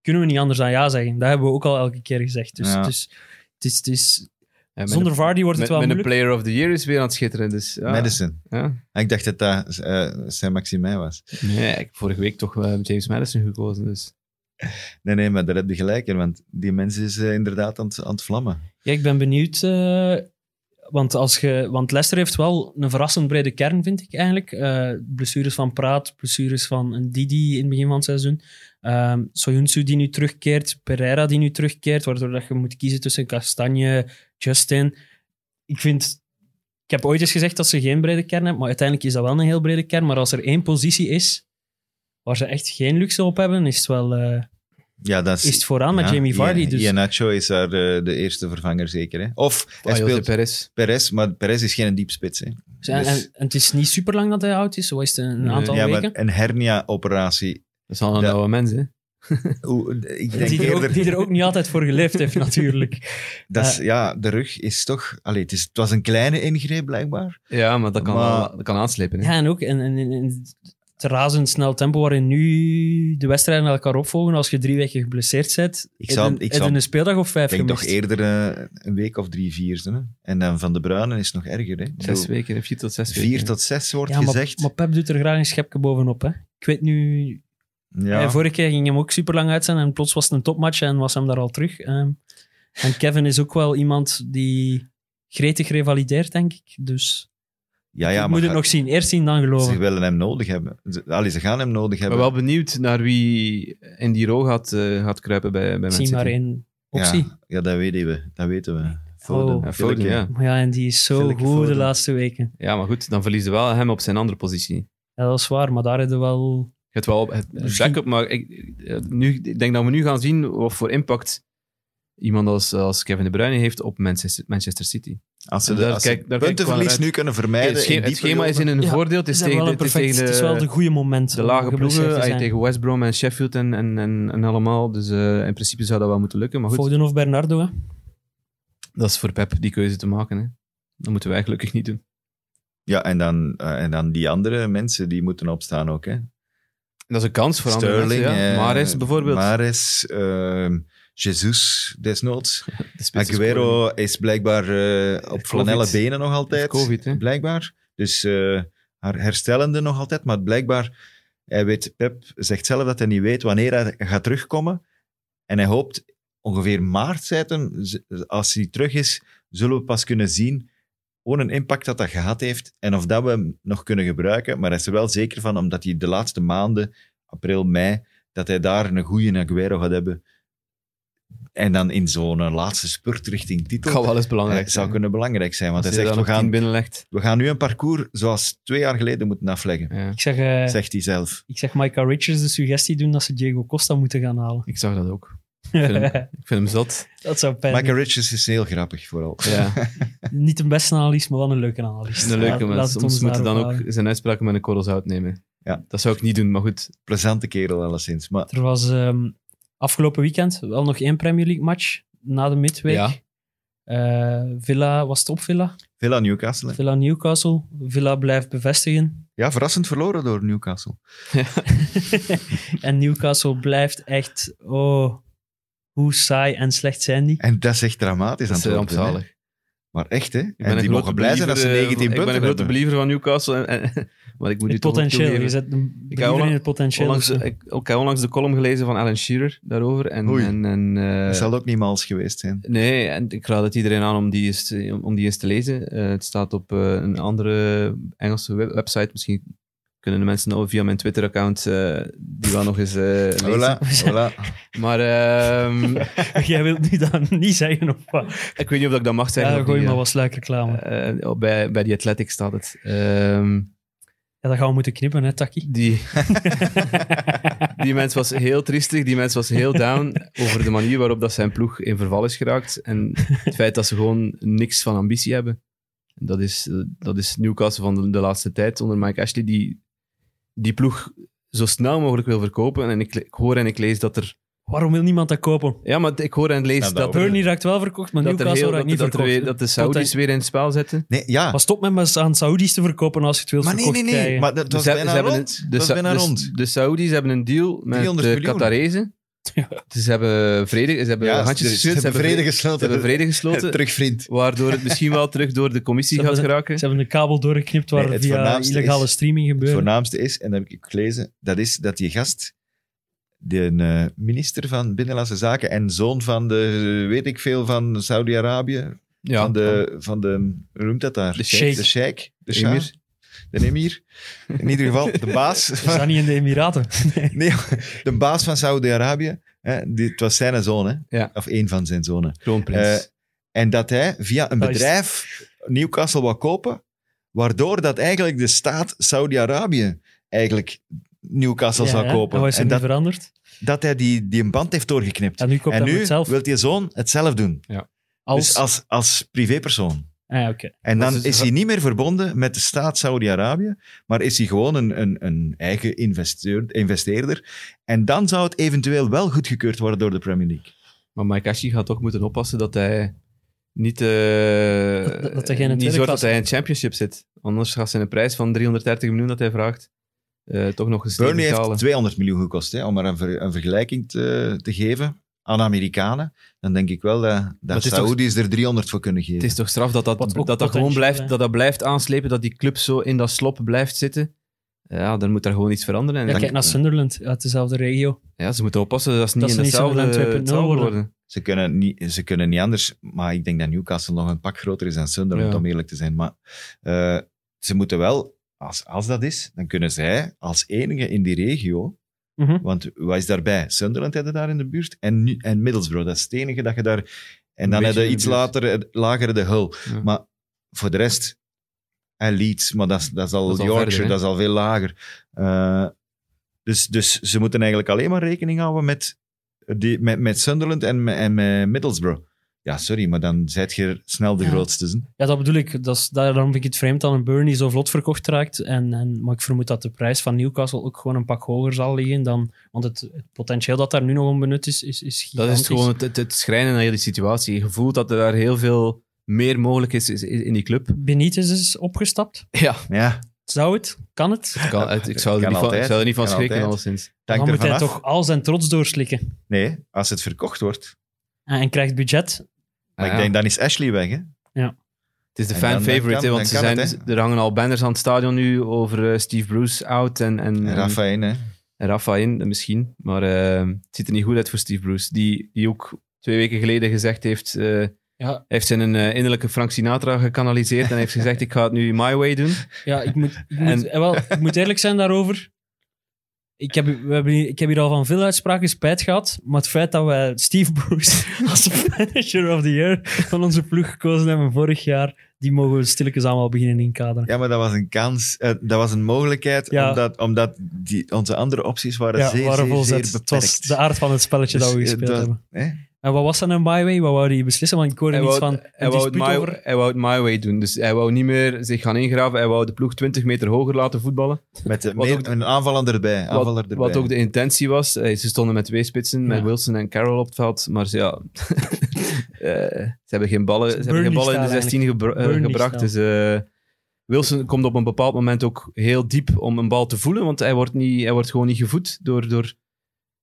kunnen we niet anders dan ja zeggen. Dat hebben we ook al elke keer gezegd. Dus, Ja. dus het is, het is, Ja, met zonder een- Vardy wordt het met, wel met de moeilijk. Player of the Year is weer aan het schitteren. Dus, ja. Madison. Ja. Ah, Ik dacht dat dat eh Saint-Maximin was. Nee, ik heb vorige week toch eh, James Madison gekozen. Dus. Nee, nee, maar daar heb je gelijk in, want die mens is eh, inderdaad aan het, aan het vlammen. Ja, ik ben benieuwd. eh, want, als ge, want Leicester heeft wel een verrassend brede kern, vind ik eigenlijk. Eh, blessures van Praat, blessures van een Didi in het begin van het seizoen. Ehm Soyuncu die nu terugkeert, Pereira die nu terugkeert, waardoor dat je moet kiezen tussen Castagne, Justin. Ik vind... Ik heb ooit eens gezegd dat ze geen brede kern hebben, maar uiteindelijk is dat wel een heel brede kern. Maar als er één positie is waar ze echt geen luxe op hebben, is het wel eh, Ja, dat is, is het vooraan met ja, Jamie Vardy. Ian- dus Ian Nacho is daar eh, de eerste vervanger zeker. Hè? Of Oh, hij Ah, José speelt Perez. Perez, maar Perez is geen diepspits. Hè? Dus en, Dus- en, en het is niet super lang dat hij oud is, zo is het een Nee. aantal Ja, maar weken. een hernia-operatie. Dat is al een Ja. oude mens, hè. Oeh, Ik denk die, er eerder... ook, die er ook niet altijd voor geleefd heeft, natuurlijk. Dat is, Eh. ja, de rug is toch... Allee, het, is, het was een kleine ingreep, blijkbaar. Ja, maar dat kan, Maar- wel- dat kan aanslepen. Hè. Ja, en ook in, in, in- in het razendsnel tempo waarin nu de wedstrijden elkaar opvolgen, als je drie weken geblesseerd bent, Ik zou- heb je- ik heb je zou- een speeldag of Ik vijf denk toch gemist. eerder eh, een week of drie, vier. Hè? En dan Van de Bruyne is nog erger. Hè? Ik Zes bedoel, weken, hè. vier tot zes weken. Vier tot zes wordt Ja, maar, gezegd. maar Pep doet er graag een schepje bovenop. Hè. Ik weet nu... ja. eh, vorige keer ging hem ook super lang uit zijn en plots was het een topmatch en was hem daar al terug. Ehm, en Kevin is ook wel iemand die gretig revalideert, denk ik. Dus ja, Ah ja, ik maar moet het ga- nog zien. Eerst zien, dan geloven. ze willen hem nodig hebben. Ze, allee, ze gaan hem nodig Ik ben hebben. wel benieuwd naar wie in die rol gaat, eh, gaat kruipen bij, bij Man zie City. maar één optie. ja, ja, dat weten we. Dat weten we. Foden. Oh. Ja, Foden, ja. Maar ja, en die is zo Philippe goed de Foden. laatste weken. ja, maar goed, dan verliezen we wel hem op zijn andere positie. Ja, dat is waar, maar daar hadden we wel... Je hebt wel op het het Misschien- dak op, maar ik, eh, nu, ik denk dat we nu gaan zien wat voor impact iemand als, als Kevin De Bruyne heeft op Manchester, Manchester City. Als ze, de, Daar als kijk- ze daar kijk ik wel puntenverlies naar nu kunnen vermijden... het, sche- in die het schema is in een Ja, voordeel. Het is, dat tegen de, wel het een is perfect- tegen de, het is wel de goede momenten. de om lage geblesseerd ploegen. te eh, zijn. Tegen West Brom en Sheffield en, en, en, en allemaal. Dus eh, in principe zou dat wel moeten lukken. Maar goed, Foden of Bernardo, hè. dat is voor Pep die keuze te maken. Hè. Dat moeten wij gelukkig niet doen. Ja, en dan, eh, en dan die andere mensen die moeten opstaan ook. Hè? Dat is een kans voor andere Sterling, mensen. Ja. eh, Mahrez bijvoorbeeld. Mahrez, ehm, Jesus, desnoods. De spits is Aguero is blijkbaar eh, op Heeft flanellen COVID. benen nog altijd. Heeft COVID, hè? Blijkbaar. Dus eh, haar herstellende nog altijd. Maar blijkbaar, hij weet, Pep zegt zelf dat hij niet weet wanneer hij gaat terugkomen. En hij hoopt ongeveer maart, zei het hem, z- als hij terug is, zullen we pas kunnen zien gewoon een impact dat dat gehad heeft en of dat we hem nog kunnen gebruiken. Maar hij is er wel zeker van, omdat hij de laatste maanden, april, mei, dat hij daar een goede Aguero gaat hebben En dan in zo'n laatste spurt richting titel. kan wel eens eh, belangrijk zou zijn. kunnen belangrijk zijn. Want Als hij je zegt, dan we op tien gaan, binnenlegt. we gaan nu een parcours zoals twee jaar geleden moeten afleggen. Ja, Ik zeg, eh, Zegt hij zelf. ik zeg Micah Richards de suggestie doen dat ze Diego Costa moeten gaan halen. ik zag dat ook. Ik vind hem, ik vind hem zot. dat zou pijn Michael Richards is heel grappig vooral. Ja, Niet een beste analist, maar wel een leuke analist. een leuke Laat- mens. laat het Soms ons moeten dan daarop ook houden. zijn uitspraken met een korrel zout nemen. Ja. Dat zou ik niet doen, maar goed. Plezante kerel alleszins. Maar Er was ehm, afgelopen weekend wel nog één Premier League match na de midweek. Ja. Eh, Villa was het op Villa. Villa Newcastle. hè? Villa Newcastle. Villa blijft bevestigen. Ja, verrassend verloren door Newcastle. en Newcastle blijft echt. Oh, hoe saai en slecht zijn die? En dat is echt dramatisch Dat aan is het eh, worden. hè. rampzalig. Maar echt, hè? Ik ben En een die grote mogen blij zijn dat ze believer, eh, 19 punten Ik ben een grote hebben. believer van Newcastle. En, en- maar ik moet nu Het toch potentieel. toegeven. Je zet een Ik believer heb onlang- in het potentieel. Onlangs, eh, of zo. ik, ik heb onlangs de column gelezen van Alan Shearer daarover. En, Oei. en, en, eh, Dat zal ook niet mals geweest zijn. Nee, en ik raad het iedereen aan om die eens te, om die eens te lezen. Eh, het staat op eh, een andere Engelse web- website. Misschien kunnen de mensen nou via mijn Twitter-account eh, die wel nog eens eh, Ah, lezen. Hola, hola. Maar ehm, Jij wilt nu dat niet zeggen of wat? ik weet niet of ik dat mag zeggen. Ja, op gooi die, maar eh, wat sluikreclame. eh, oh, bij, bij die Athletic staat het. Ehm, Ja, dat gaan we moeten knippen, hè, Taki? die, die mens was heel triestig, die mens was heel down over de manier waarop dat zijn ploeg in verval is geraakt. En het feit dat ze gewoon niks van ambitie hebben. Dat is, eh, dat is Newcastle van de, de laatste tijd onder Mike Ashley, die die ploeg zo snel mogelijk wil verkopen. En ik, le- ik hoor en ik lees dat er... Waarom wil niemand dat kopen? Ja, maar ik hoor en lees Nou, dat dat, er- Burnley raakt wel verkocht, maar dat, er Newcastle heel, raakt dat, niet dat, er verkocht. weer, dat de Saudis Poten- weer in het spel zetten. Nee, ja. Maar stop met me aan Saoedi's te verkopen als je het wilt Maar nee, verkocht nee, nee. krijgen. Maar dat, was Dus Ze- ze bijna hebben rond. een- de dat was Sa- bijna de- rond. De Saoedi's hebben een deal met 300 de miljoen. Qatarezen. Dus Ze hebben vrede, ze hebben Ja, handjes ze, ze geschud, hebben vrede ze hebben gesloten. vrede gesloten, Terug vriend. waardoor het misschien wel terug door de commissie Ze gaat hebben- geraken. Ze hebben de kabel doorgeknipt waar Nee, het via voornaamste illegale is- streaming Het gebeurde. voornaamste is, en dat heb ik ook gelezen, dat is dat die gast, de eh, minister van Binnenlandse Zaken en zoon van de, eh, weet ik veel, van Saudi-Arabië, Ja, van, de, van de, hoe noemt dat daar? De sheikh. De sheikh. De Emir. emir. De emir. In ieder geval, de baas Is van, dat niet in de Emiraten? nee, de baas van Saudi-Arabië. hè, die- Het was zijn zoon, hè? Ja. Of één van zijn zonen. kroonprins. Eh, En dat hij via een Dat is- bedrijf Newcastle wou kopen, waardoor dat eigenlijk de staat Saudi-Arabië eigenlijk Newcastle zou kopen. Wat Nou, is er en nu dat, veranderd? dat hij die, die een band heeft doorgeknipt. En nu koopt en hij nu het zelf. wil die zoon het zelf doen. als... Dus als, als privépersoon. Ah, oké. En dan Dat is- is hij niet meer verbonden met de staat Saudi-Arabië, maar is hij gewoon een, een, een eigen investeer- investeerder. En dan zou het eventueel wel goedgekeurd worden door de Premier League. maar Mike Ashley gaat toch moeten oppassen dat hij niet, eh, Dat- dat hij geen niet tweede zorgt dat klasse- hij in het championship zit. Anders gaat zijn prijs van 330 miljoen dat hij vraagt eh, toch nog eens Burnley heeft betalen. 200 miljoen gekost, hè, om maar een, ver- een vergelijking te, te geven aan Amerikanen. Dan denk ik wel dat, dat het is toch- Saoedi's er 300 voor kunnen geven. Het is toch straf dat dat, Wat ook dat, dat potentieel, gewoon blijft, hè? dat dat blijft aanslepen, dat die club zo in dat slop blijft zitten. Ja, dan moet daar gewoon iets veranderen. En Ja, dan- kijk naar Sunderland, uit dezelfde regio. Ja, ze moeten oppassen dat ze niet Dat ze in niet hetzelfde, Sunderland 2.0 hetzelfde worden. worden. Ze, kunnen niet, ze kunnen niet anders, maar ik denk dat Newcastle nog een pak groter is dan Sunderland, Ja. om eerlijk te zijn. Maar eh, ze moeten wel, als, als dat is, dan kunnen zij als enige in die regio, Mhm. want wat is daarbij? Sunderland hadden daar in de buurt en, Nu- en Middlesbrough, dat is het enige dat je daar... En Een dan beetje hadden in de iets buurt. later, eh, lager de Hull. Ja. Maar voor de rest, en Leeds, maar dat is, dat is al Dat is al Yorkshire, verder, hè? dat is al veel lager. Eh, dus, dus ze moeten eigenlijk alleen maar rekening houden met, die, met, met Sunderland en, met- en met Middlesbrough. Ja, sorry, maar dan zijt je snel de Ja. grootste. hè. Ja, dat bedoel ik. Dat is, daarom vind ik het vreemd dat een Burnley zo vlot verkocht raakt. En, en, maar ik vermoed dat de prijs van Newcastle ook gewoon een pak hoger zal liggen. Dan, want het, het potentieel dat daar nu nog onbenut is, is, is Dat is gigantisch. het gewoon het, het, het schrijnen aan hele situatie. Je voelt dat er daar heel veel meer mogelijk is, is- is in die club. Benitez is opgestapt. Ja, Ja, Zou het? Kan het? ik, kan, het- ik zou er Kan niet van, ik altijd, zou er niet van kan schrikken, altijd. alleszins. dank dan er moet hij vanaf. toch al zijn trots doorslikken. Nee, als het verkocht wordt. En, en krijgt budget. Maar Ah, ik ja. denk, dan is Ashley weg, hè? Het is de En dan- fan dan favorite, kan- hè, dan want ze kan zijn, het, hè. er hangen al banners aan het stadion nu over eh, Steve Bruce out en, en, En Rafa in, hè? en Rafa in, eh, misschien. Maar eh, het ziet er niet goed uit voor Steve Bruce, die, die ook twee weken geleden gezegd heeft... eh, Ja. heeft zijn eh, innerlijke Frank Sinatra gekanaliseerd en heeft gezegd, ik ga het nu my way doen. Ja, ik moet, ik En- moet, eh, wel, ik moet eerlijk zijn daarover. Ik heb, we hebben hier, ik heb hier al van veel uitspraken spijt gehad, maar het feit dat wij Steve Bruce als manager of the year van onze ploeg gekozen hebben vorig jaar, die mogen we stilletjes allemaal beginnen inkaderen. Ja, maar dat was een kans, eh, dat was een mogelijkheid, Ja. omdat, omdat die, onze andere opties waren Ja, zeer, waren zeer, vol zeer zet. beperkt. Het was de aard van het spelletje Dus, dat we eh, gespeeld dat- hebben. hè? En wat was nou, dan een byway? Wat wou hij beslissen? Want ik hoorde Hij iets wou- van Hij een wou, het dispuut my, over... hij wou het my way doen. Dus hij wou niet meer zich gaan ingraven. Hij wou de ploeg 20 meter hoger laten voetballen. Met eh, Wat meer- ook de- een aanvaller erbij. Aanvaller Wat, erbij. wat ook de intentie was. Eh, Ze stonden met twee spitsen, met Ja. Wilson en Carroll op het veld. Maar ze, ja, eh, ze hebben geen ballen, ze hebben geen Burnley ballen in de style 16 gebra- eh, Burnley gebracht. Dus, eh, Wilson komt op een bepaald moment ook heel diep om een bal te voelen. Want hij wordt, niet, hij wordt gewoon niet gevoed door, door,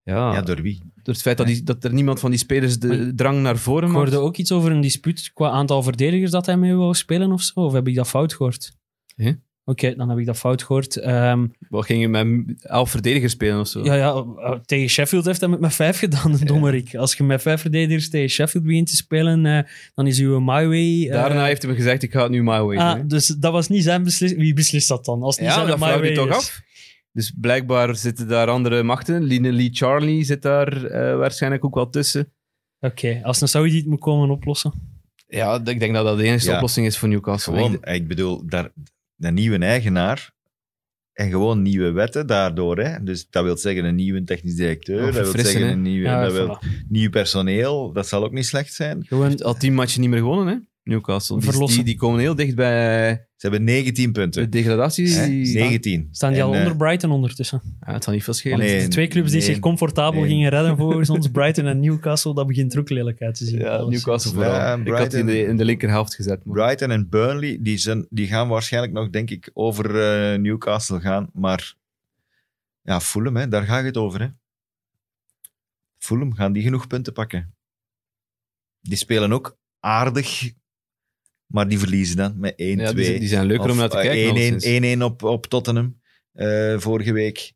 ja, Ja, door, door wie? het feit dat, die, dat er niemand van die spelers Maar de drang naar voren Ik maakt. hoorde ook iets over een dispuut qua aantal verdedigers dat hij mee wou spelen of zo. Of heb ik dat fout gehoord? Hè? Oké, dan heb ik dat fout gehoord. Ehm, Wat ging je met elf verdedigers spelen of zo? ja, ja, eh, tegen Sheffield heeft hij het met vijf gedaan, de dommerik. Als je met vijf verdedigers tegen Sheffield begint te spelen, eh, dan is uw my way... eh, Daarna heeft hij gezegd, ik ga het nu my way doen, hè. ah, dus dat was niet zijn beslissing. Wie beslist dat dan? Als het niet Ja, zijn dat my vraagt way hij toch is. af. Dus blijkbaar zitten daar andere machten. Lee, Lee Charlie zit daar eh, waarschijnlijk ook wel tussen. Oké, als een Saudi het moet komen oplossen. Ja, d- ik denk dat dat de enige Ja. oplossing is voor Newcastle. Gewoon, Ik- ik, bedoel, daar, de nieuwe eigenaar en gewoon nieuwe wetten daardoor. Hè? Dus dat wil zeggen een nieuwe technisch directeur, Oh, dat wil verfrissen, zeggen hè? een nieuwe, Ja, dat wil, voilà. nieuw personeel. Dat zal ook niet slecht zijn. Gewoon, Al tien matchen niet meer gewonnen, hè? Newcastle. Die, Verlossen. die, die komen heel dicht bij Ze hebben 19 punten. de degradatie. Hè? Die- 19. staan die En, al eh, onder Brighton ondertussen? Ja, het zal niet veel schelen. Want nee, de twee clubs die nee, zich comfortabel nee. gingen redden volgens ons, Brighton en Newcastle, dat begint er ook lelijk uit te zien. Ja, Alles. Newcastle Ja, vooral. ik had die in de, Brighton. in de linkerhelft gezet. man. Brighton en Burnley, die, zijn, die gaan waarschijnlijk nog, denk ik, over eh, Newcastle gaan. Maar ja, Fulham, hè, daar gaat het over. Hè. Fulham, gaan die genoeg punten pakken? Die spelen ook aardig, maar die verliezen dan met 1-2. Ja, die, zijn- die zijn leuker om naar te Of, eh, kijken. 1-1, nonsens. 1-1 op, op Tottenham eh, vorige week.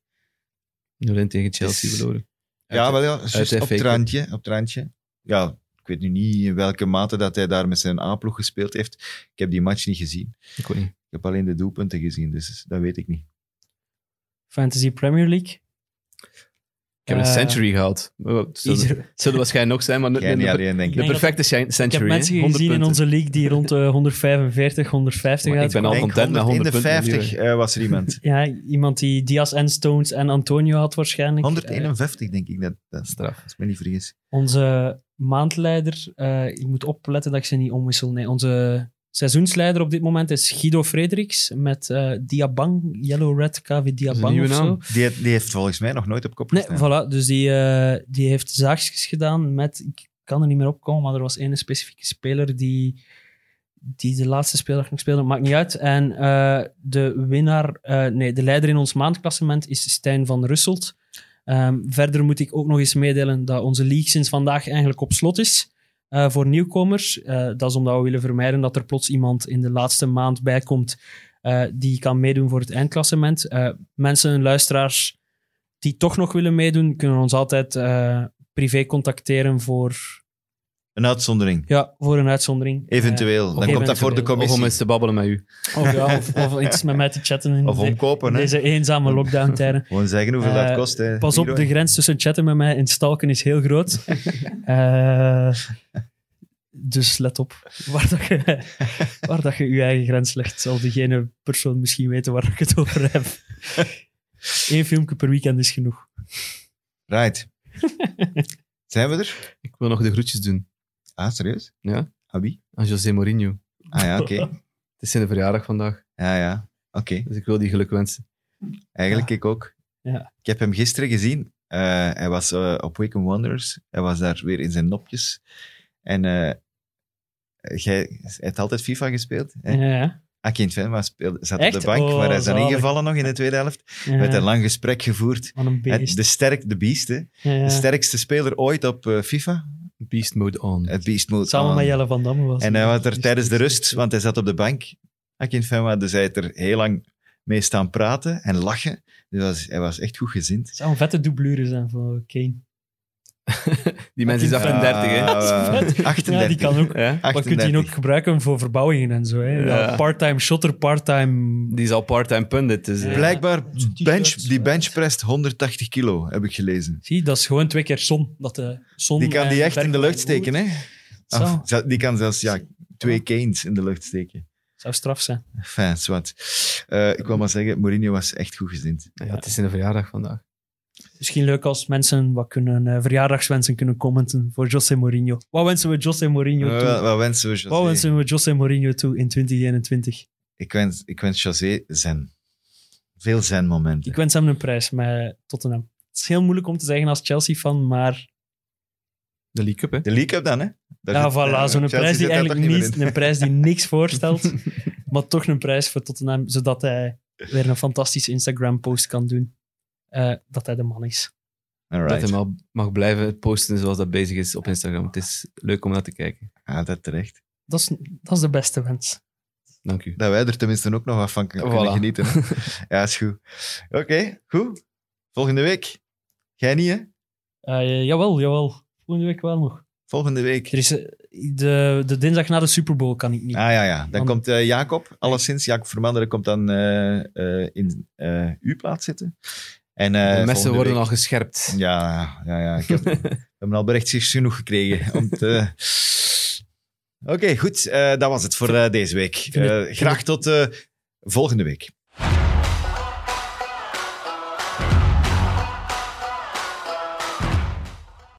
0-1 tegen Chelsea Dus- verloren. Ja, wel ja, uit juist de op FA het Cup. randje, op het randje. Ja, ik weet nu niet in welke mate dat hij daar met zijn A-ploeg gespeeld heeft. Ik heb die match niet gezien. Ik weet niet. Ik heb alleen de doelpunten gezien, dus dat weet ik niet. Fantasy Premier League. Ik heb een Eh, century gehaald. Het zullen, Ieder- het zullen waarschijnlijk nog zijn, maar Jij niet de- alleen, denk ik. De Nee, perfecte cen- Ik heb century. hè? mensen 100 gezien in punten. onze league die rond de 145, 150 Maar ik ben uitkomen. al Ik denk content met 100 100 in de punten 50 eh, was er iemand. Ja, iemand die Diaz en Stones en Antonio had waarschijnlijk. Eh, 151 denk ik, dat, dat is, Straf. als ik me niet vergis. Onze maandleider, eh, ik moet opletten dat ik ze niet omwissel. Nee, onze seizoensleider op dit moment is Guido Frederiks met eh, Diabang, Yellow Red KV is een Diabang nieuwe of zo. naam. Die, heeft- die heeft volgens mij nog nooit op kop Nee, gestaan. voilà. Dus die, eh, die heeft zaagjes gedaan met... Ik kan er niet meer op komen, maar er was één specifieke speler die, die de laatste speler nog speelde. Maakt niet uit. En eh, de winnaar... eh, nee, de leider in ons maandklassement is Stijn van Russelt. Ehm, verder moet ik ook nog eens meedelen dat onze league sinds vandaag eigenlijk op slot is. eh, voor nieuwkomers. Eh, dat is omdat we willen vermijden dat er plots iemand in de laatste maand bijkomt eh, die kan meedoen voor het eindklassement. Eh, mensen, luisteraars, die toch nog willen meedoen, kunnen ons altijd eh, privé contacteren voor, Een uitzondering. ja, voor een uitzondering. Eventueel. Dan komt dat eventueel. voor de Of om commissie. eens te babbelen met u. Eh, of, ja, of, of iets met mij te chatten in Of de- omkopen, hè. deze eenzame lockdown-tijden. Gewoon zeggen hoeveel Eh, dat kost. Hè. Pas op, Hier, de hoor. grens tussen chatten met mij en stalken is heel groot. Eh, dus let op waar, dat je, waar dat je je eigen grens legt. Zal degene persoon misschien weten waar ik het over heb. Eén filmpje per weekend is genoeg. Right. Zijn we er? Ik wil nog de groetjes doen Ah, serieus? Ja. Abi? aan José Mourinho. Ah ja, oké. Het is zijn verjaardag vandaag, Ja, ja. Oké. dus ik wil die geluk wensen. Eigenlijk ik ook. Ja. Ik heb hem gisteren gezien. Eh, hij was eh, op Wake and Wonders. Hij was daar weer in zijn nopjes. En eh jij hij heeft altijd FIFA gespeeld. Hè? Ja, ja. Ah, geen fan, maar speelde, zat op Echt? de bank. Oh, maar hij is dan zalig. ingevallen nog in de tweede helft. Ja. Met een lang gesprek gevoerd. Wat een Hè, beest. de, sterk, de beest, hè. Ja, ja. De sterkste speler ooit op eh, FIFA. Beast mode on. Het beest mode. Samen on. met Jelle van Damme was En het. hij was er tijdens de rust, want hij zat op de bank. Akin Fenwa, dus hij heeft er heel lang mee staan praten en lachen. Dus hij was, hij was echt goed gezind. Het zou een vette doublure zijn voor Kane. Die mensen is Ja. 38, hè? Ah, hè? 38. Ja, die kan ook. Ja? Maar je kunt die ook 38. gebruiken voor verbouwingen en zo. Hè? Ja. Ja, Part-time shotter, part-time... Die is al part-time pundit. Dus, eh. Ja. Blijkbaar, bench, t-shirts, die eh. benchprest 180 kilo, heb ik gelezen. Zie, dat is gewoon twee keer zon. Dat de zon Die kan die en echt in de bergen lucht steken, hè? eh, Ah. Zo. Of, ze- die kan zelfs ja, twee canes in de lucht steken. Zou straf zijn. Fijn, zwart. Eh, ik wil maar zeggen, Mourinho was echt goed gezind. Ja, het is in de verjaardag vandaag. Misschien leuk als mensen wat kunnen, eh, verjaardagswensen kunnen commenten voor José Mourinho. Wat wensen we José Mourinho toe? Wat, wat Eh, wensen we José? Wat wensen we José Mourinho toe in 2021? Ik, wens, ik wens José zen. Veel zen momenten. Ik wens hem een prijs met Tottenham. Het is heel moeilijk om te zeggen als Chelsea-fan, maar De League Cup, hè? De League Cup dan, hè? Daar ja, zit- eh, voilà, zo'n Chelsea prijs die zit daar eigenlijk toch niet, meer in. een prijs die niks voorstelt, maar toch een prijs voor Tottenham, zodat hij weer een fantastische Instagram-post kan doen. eh, dat hij de man is. Alright. Dat hij maar mag blijven posten zoals dat bezig is op Instagram. Het is leuk om naar te kijken. Ah, dat terecht. Dat is, dat is de beste wens. Dank u. Dat wij er tenminste ook nog wat van kunnen Voilà. genieten. hè. ja, is goed. Oké, goed. Volgende week. Jij niet, hè? Eh, jawel, jawel. Volgende week wel nog. Volgende week. Er is, eh, de, de dinsdag na de Super Bowl kan ik niet. Ah ja, ja. Dan Want- komt eh, Jacob, alleszins. Jacob Vermanderen komt dan eh, eh, in eh, uw plaats zitten. En, eh, de messen volgende worden week- al gescherpt. Ja, ja, ja. Ik heb, ik heb al berichtjes genoeg gekregen. om te- Oké, goed. eh, dat was het voor eh, deze week. vind het- Eh, graag tot eh, volgende week.